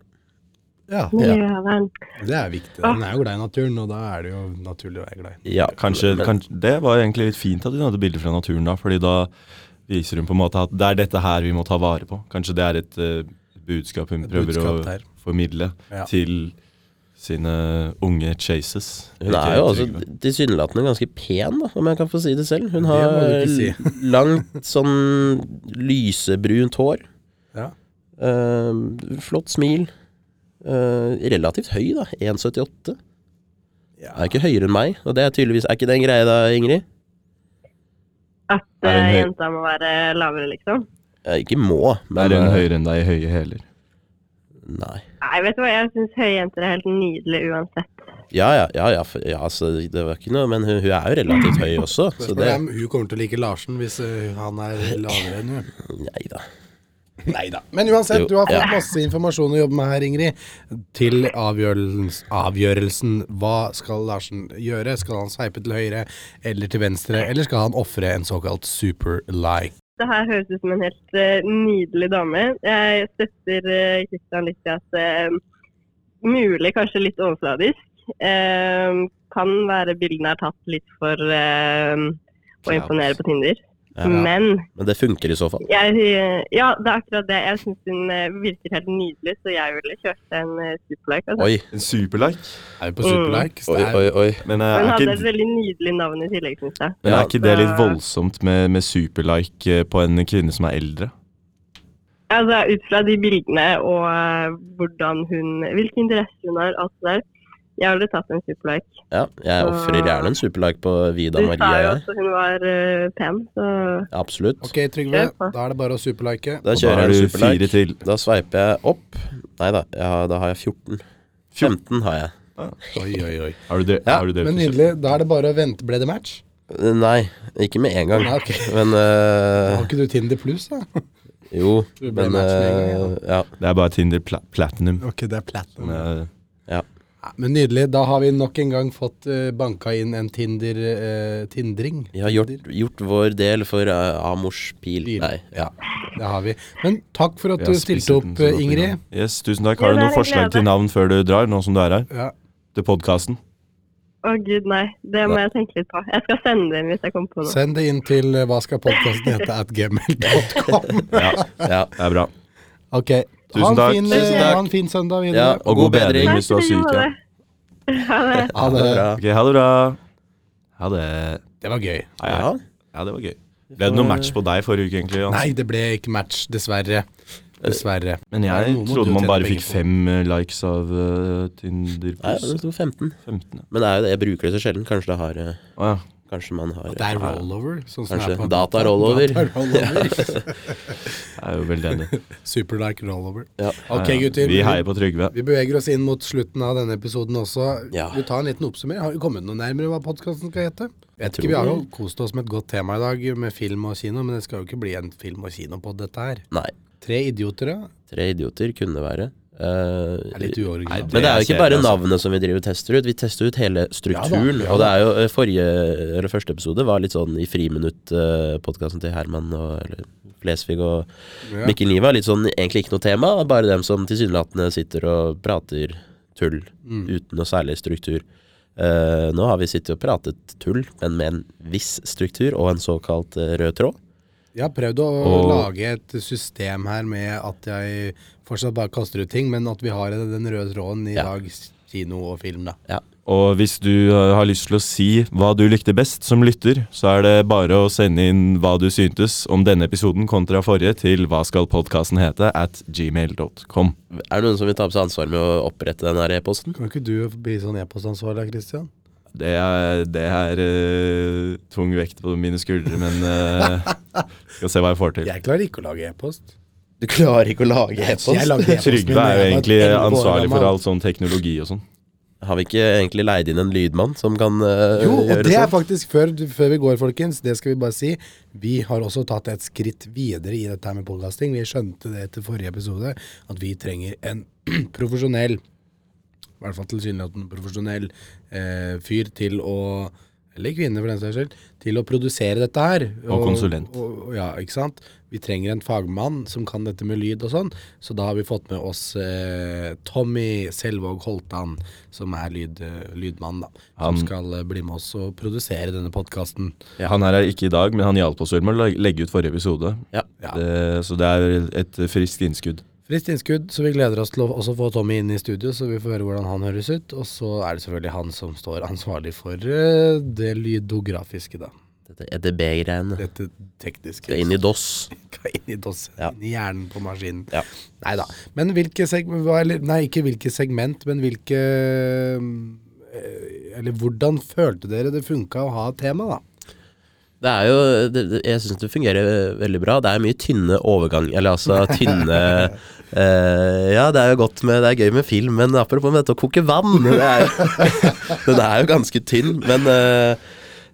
A: Ja,
E: Miljøvern.
A: det er viktig. Den er jo glad i naturen, og da er det jo naturlig å være glad i.
B: Ja,
C: Kanskje,
B: men-
C: kanskje, det var egentlig litt fint at hun hadde bilder fra naturen da, fordi da viser hun på en måte at det er dette her vi må ta vare på. Kanskje det er et eh, budskap hun
A: Et
C: prøver
A: budskap
C: å
A: der.
C: formidle
A: Ja.
C: til sine unge chases.
B: Hun
C: Ikke
B: er jo altså
C: Trygve.
B: tilsynelatende ganske pen, da, om jeg kan få si det selv. Hun
A: Det
B: har
A: må du ikke si.
B: langt sånn lysebrunt hår.
A: Ja.
B: eh, flott smil. eh, relativt høy, da. 1,78.
A: Ja.
B: Er ikke høyere enn meg, og det er tydeligvis Er ikke det en greie da, Ingrid?
E: At
C: Er hun
E: eh,
C: høy?
E: jenta må være lavere, liksom.
B: Eh, ikke må, men
C: Er hun
B: eh,
C: høyere enn deg i høye hæler?
B: Nei.
E: Nei, vet du hva, jeg syns høye jenter er helt nydelige uansett.
B: Ja, ja, ja, ja, for, ja så det var ikke noe Men hun, hun er jo relativt høy også, så
A: Spørsmålet
B: det
A: er om hun kommer til å like Larsen hvis eh, han er lavere enn hun.
B: Nei da.
A: Neida. Men uansett,
B: Jo,
A: du har fått
B: ja.
A: masse informasjon å jobbe med her, Ingrid. Til avgjørelsen, avgjørelsen hva skal Larsen gjøre? Skal han sveipe til høyre eller til venstre, eller skal han ofre en såkalt super like?
E: Det her høres ut som en helt eh, nydelig dame. Jeg støtter eh, Kristian litt i at eh, mulig kanskje litt overfladisk. Eh, kan være bildene er tatt litt for eh, å
C: Clout.
E: imponere på Tinder.
B: Ja.
E: Men
B: Men det funker i så fall.
E: jeg, eh, ja, det er akkurat det. Jeg syns hun eh, virker helt nydelig, så jeg ville kjørt en eh, superlike. Altså.
B: Oi,
C: En superlike?
A: Er vi på super like?
B: oi, oi. oi.
C: Men, eh, er,
E: Hun hadde et
C: ikke,
E: veldig nydelig navn i tillegg, syns jeg.
C: men
B: Ja.
C: er ikke det litt
E: Så-
C: voldsomt med, med superlike eh, på en kvinne som er eldre?
E: Altså, ut fra de bildene og eh, hvordan hun, hvilke interesser hun har, alt det der. Jeg ville tatt en superlike.
B: Ja, jeg ofrer gjerne en superlike på Vida
E: Du sa
B: Maria.
E: jo
B: jeg.
E: at hun var eh, pen, så
B: Absolutt.
A: Ok, Trygve.
E: Kjør på.
A: Da er det bare å superlike.
B: Da
C: Og da er
B: kjører jeg en
C: du fire
B: superlike.
C: til.
B: Da sveiper jeg opp. Nei da, jeg har- da har jeg 14. 15 har jeg.
A: Oi, oi, oi.
C: Har du det?
B: Ja,
C: har du det
A: Men
C: for-
A: nydelig. Da er det bare å vente. Ble det match?
B: Eh, Nei, ikke med en gang.
A: Nei, ok.
B: Men
A: Har
B: eh,
A: ikke du Tinder pluss, da?
B: Jo.
A: Du ble
B: Men
A: match med en gang,
B: eh, ja.
C: Det er bare Tinder pla Platinum.
A: Ok, det er platinum.
C: Eh,
A: Ja, men nydelig. Da har vi nok en gang fått eh, banka inn en Tinder eh, Tindring.
B: Vi har gjort, gjort vår del for eh, Amors pil.
A: Pil.
B: Nei. Ja.
A: Det har vi. Men takk for at
C: Jeg
A: du
C: har spist
A: stilte opp,
C: den så godt jeg
A: Ingrid.
C: kan. Yes, tusen takk.
E: Ja,
C: Har du
E: det er
C: noen
E: en
C: forslag
E: glede.
C: til navn før du drar, nå som du er her?
A: Ja.
C: Til podkasten?
E: Å gud, nei. Det må
A: Nei.
E: jeg tenke litt på. Jeg skal sende det inn hvis jeg kommer på noe.
A: Send det inn til eh, hva skal podkasten hete at gmail.com.
C: Ja,
B: Ja.
C: det er bra.
A: Ok. Ha
C: Tusen
A: en
C: takk.
A: fin,
B: Tusen
A: eh,
B: takk.
A: Ha en fin søndag
B: ja,
A: videre.
C: Og god bedring
E: Takk
C: hvis du er
E: i like
C: syk. Ja.
E: måte. Ha det.
A: Ha det.
B: bra.
C: Ok, ha det bra. Ha det.
A: Det var gøy.
C: Hei, hei.
B: Ja.
C: Ja, det var gøy. Ble det noen match på deg forrige uke, egentlig? Jans?
A: Nei, det ble ikke match, dessverre. Dessverre.
C: Men
A: Nei,
C: jeg
A: noen må du
C: trodde man
A: tjene
C: bare
A: penger
C: fikk
A: på.
C: fem eh, likes av eh, Tinder
B: Nei,
C: pluss
B: det sto 15.
C: 15.
B: Men det er jo det, jeg bruker det så sjelden. Kanskje det har eh,
C: Å ja.
B: Kanskje man har eh,
A: Det er rollover. Sånn som
B: Kanskje
A: det er på-
B: data rollover.
A: Data rollover.
C: Jeg er jo veldig enig.
A: Superdark rollover.
B: Ja.
A: Ok, gutter.
C: Vi heier på Trygve.
A: Vi beveger oss inn mot slutten av denne episoden også.
B: Ja.
A: Vi tar en liten oppsummering. Har vi kommet noe nærmere hva podkasten skal hete? Jeg tror vi har jo kost oss med et godt tema i dag, med film og kino, men det skal jo ikke bli en film og kino på dette her.
B: Nei.
A: Tre idioter, ja.
B: Tre idioter kunne være. Eh,
A: Er litt
C: Nei,
A: uoriginalt.
B: men det er jo ikke
C: Jeg ser
B: bare
C: det, altså.
B: navnet som vi driver og tester ut, vi tester ut hele strukturen.
A: Ja da, ja
B: Og det er jo eh, forrige, eller første episode var litt sånn i friminutt-podkasten til Herman og eller, Flesvig og
A: Ja.
B: Mikkel Niva. Litt sånn egentlig ikke noe tema, bare dem som tilsynelatende sitter og prater tull
A: Mm.
B: uten noe særlig struktur. Eh, nå har vi sittet og pratet tull, men med en viss struktur og en såkalt eh, rød tråd.
A: Jeg har prøvd å
C: Og-
A: lage et system her med at jeg fortsatt bare kaster ut ting, men at vi har den røde tråden i
B: Ja.
A: dag, kino og film, da.
C: Og hvis du eh, har lyst til å si hva du likte best som lytter, så er det bare å sende inn hva du syntes om denne episoden kontra forrige til hva skal podkasten hete at gmail.com.
B: Er det noen som vil ta på seg ansvar med å opprette den her e-posten?
A: Kan ikke du bli sånn e-postansvarlig, da, Christian?
C: Det er, det er eh, tung vekt på mine skuldre, men eh, skal se hva jeg får til.
A: Jeg klarer ikke å lage e-post.
B: Du klarer ikke å lage
A: Jeg lagde e-posten min
C: Trygve
A: da
C: er
A: jeg
C: jo
A: var
C: egentlig
A: 11 år
C: ansvarlig for
A: gammel.
C: all sånn teknologi og sånn.
B: Har vi ikke egentlig leid inn en lydmann som kan eh,
A: Jo, og
B: gjøre
A: det
C: liksom.
A: er
B: sånt?
A: faktisk før, før vi går, folkens. Det skal vi bare si. Vi har også tatt et skritt videre i dette her med podcasting. Vi skjønte det etter forrige episode, at vi trenger en profesjonell, i hvert fall tilsynelatende profesjonell, eh, fyr til å eller kvinne, for den saks skyld, til å produsere dette her.
C: Og konsulent.
A: Og, og, ja, ikke sant. Vi trenger en fagmann som kan dette med lyd og sånn. Så da har vi fått med oss eh, Tommy Selvåg Holtan, som er lyd, eh, lydmann, da. Som
C: Han-
A: skal eh, bli med oss og produsere denne podkasten.
C: Han her er ikke i dag, men han hjalp oss vel med å leg- legge ut forrige episode.
B: Ja.
A: Ja.
C: Det, så det er et friskt innskudd.
A: Friskt innskudd, så vi gleder oss til å også få Tommy inn i studio, så vi får høre hvordan han høres ut. Og så er det selvfølgelig han som står ansvarlig for eh, det lydografiske, da.
B: Dette EDB-greiene.
A: Dette tekniske.
B: Skal inn i DOS.
A: Skal inn i DOS,
B: Ja.
A: inn i hjernen på maskinen.
B: Ja.
A: Nei da. Men hvilke segment Nei, ikke hvilke segment, men hvilke eh, Eller hvordan følte dere det funka å ha et tema, da?
B: Det er jo det, det, Jeg syns det fungerer eh, veldig bra. Det er mye tynne overgang Eller altså tynne eh, Ja, det er jo godt med Det er gøy med film, men apropos med dette å koke vann det er jo, Den er jo ganske tynn, men eh,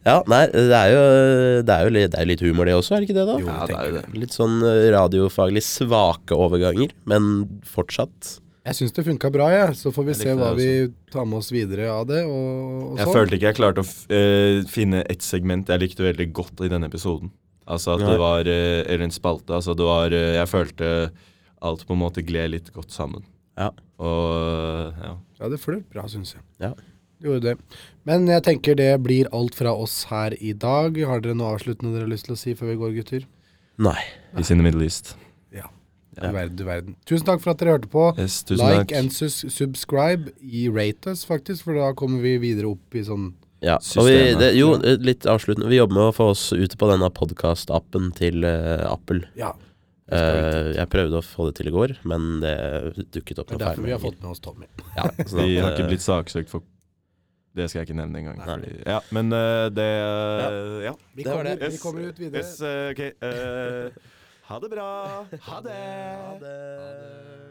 B: ja, nei, det er jo, det er jo, litt, det er jo litt humor det også, er det ikke det da?
A: jeg tenker det.
B: Litt sånn eh, radiofaglig svake overganger, men fortsatt
A: Jeg syns det funka bra, jeg. Så får vi
C: Jeg
A: se
C: likte
A: hva
C: det
A: vi tar med oss videre av det. Og, og
C: Jeg
A: sånn.
C: følte ikke jeg klarte å f eh, finne et segment jeg likte veldig godt i denne episoden. Altså at
B: Nei.
C: det var eh, Eller en spalte. Altså det var eh, Jeg følte alt på en måte gled litt godt sammen.
B: Ja.
C: Og eh, ja.
A: Ja, det fløt bra, syns jeg.
B: Ja.
A: Det Gjorde det. Men jeg tenker det blir alt fra oss her i dag. Har dere noe avsluttende dere har lyst til å si før vi går, gutter?
B: Nei.
C: Peace in the Middle East.
A: Ja. Du verden, du verden. Tusen takk for at dere hørte på.
C: Yes, tusen
A: like
C: takk.
A: and sus subscribe. I rate us, faktisk, for da kommer vi videre opp i sånn
B: Ja, og vi,
C: Systemet.
B: det, jo, eh, litt avsluttende. Vi jobber med å få oss ut på denne podkast-appen til eh, Apple.
A: Ja. det skal vi
B: Eh, jeg prøvde å få det til i går, men det dukket opp
A: Det er
B: noen
A: derfor vi har
B: feilmeldinger.
A: fått med oss Tommy.
B: Ja, sånn
C: Vi
B: at,
C: har ikke
B: eh,
C: blitt saksøkt for Det skal jeg ikke nevne engang.
B: Nei.
C: fordi- Ja, men eh, det eh, Ja.
A: Vi
B: Det var
A: kommer,
B: det.
A: Vi kommer ut videre.
C: Yes, eh, ok. eh, ha det bra. Ha det.
B: Ha det.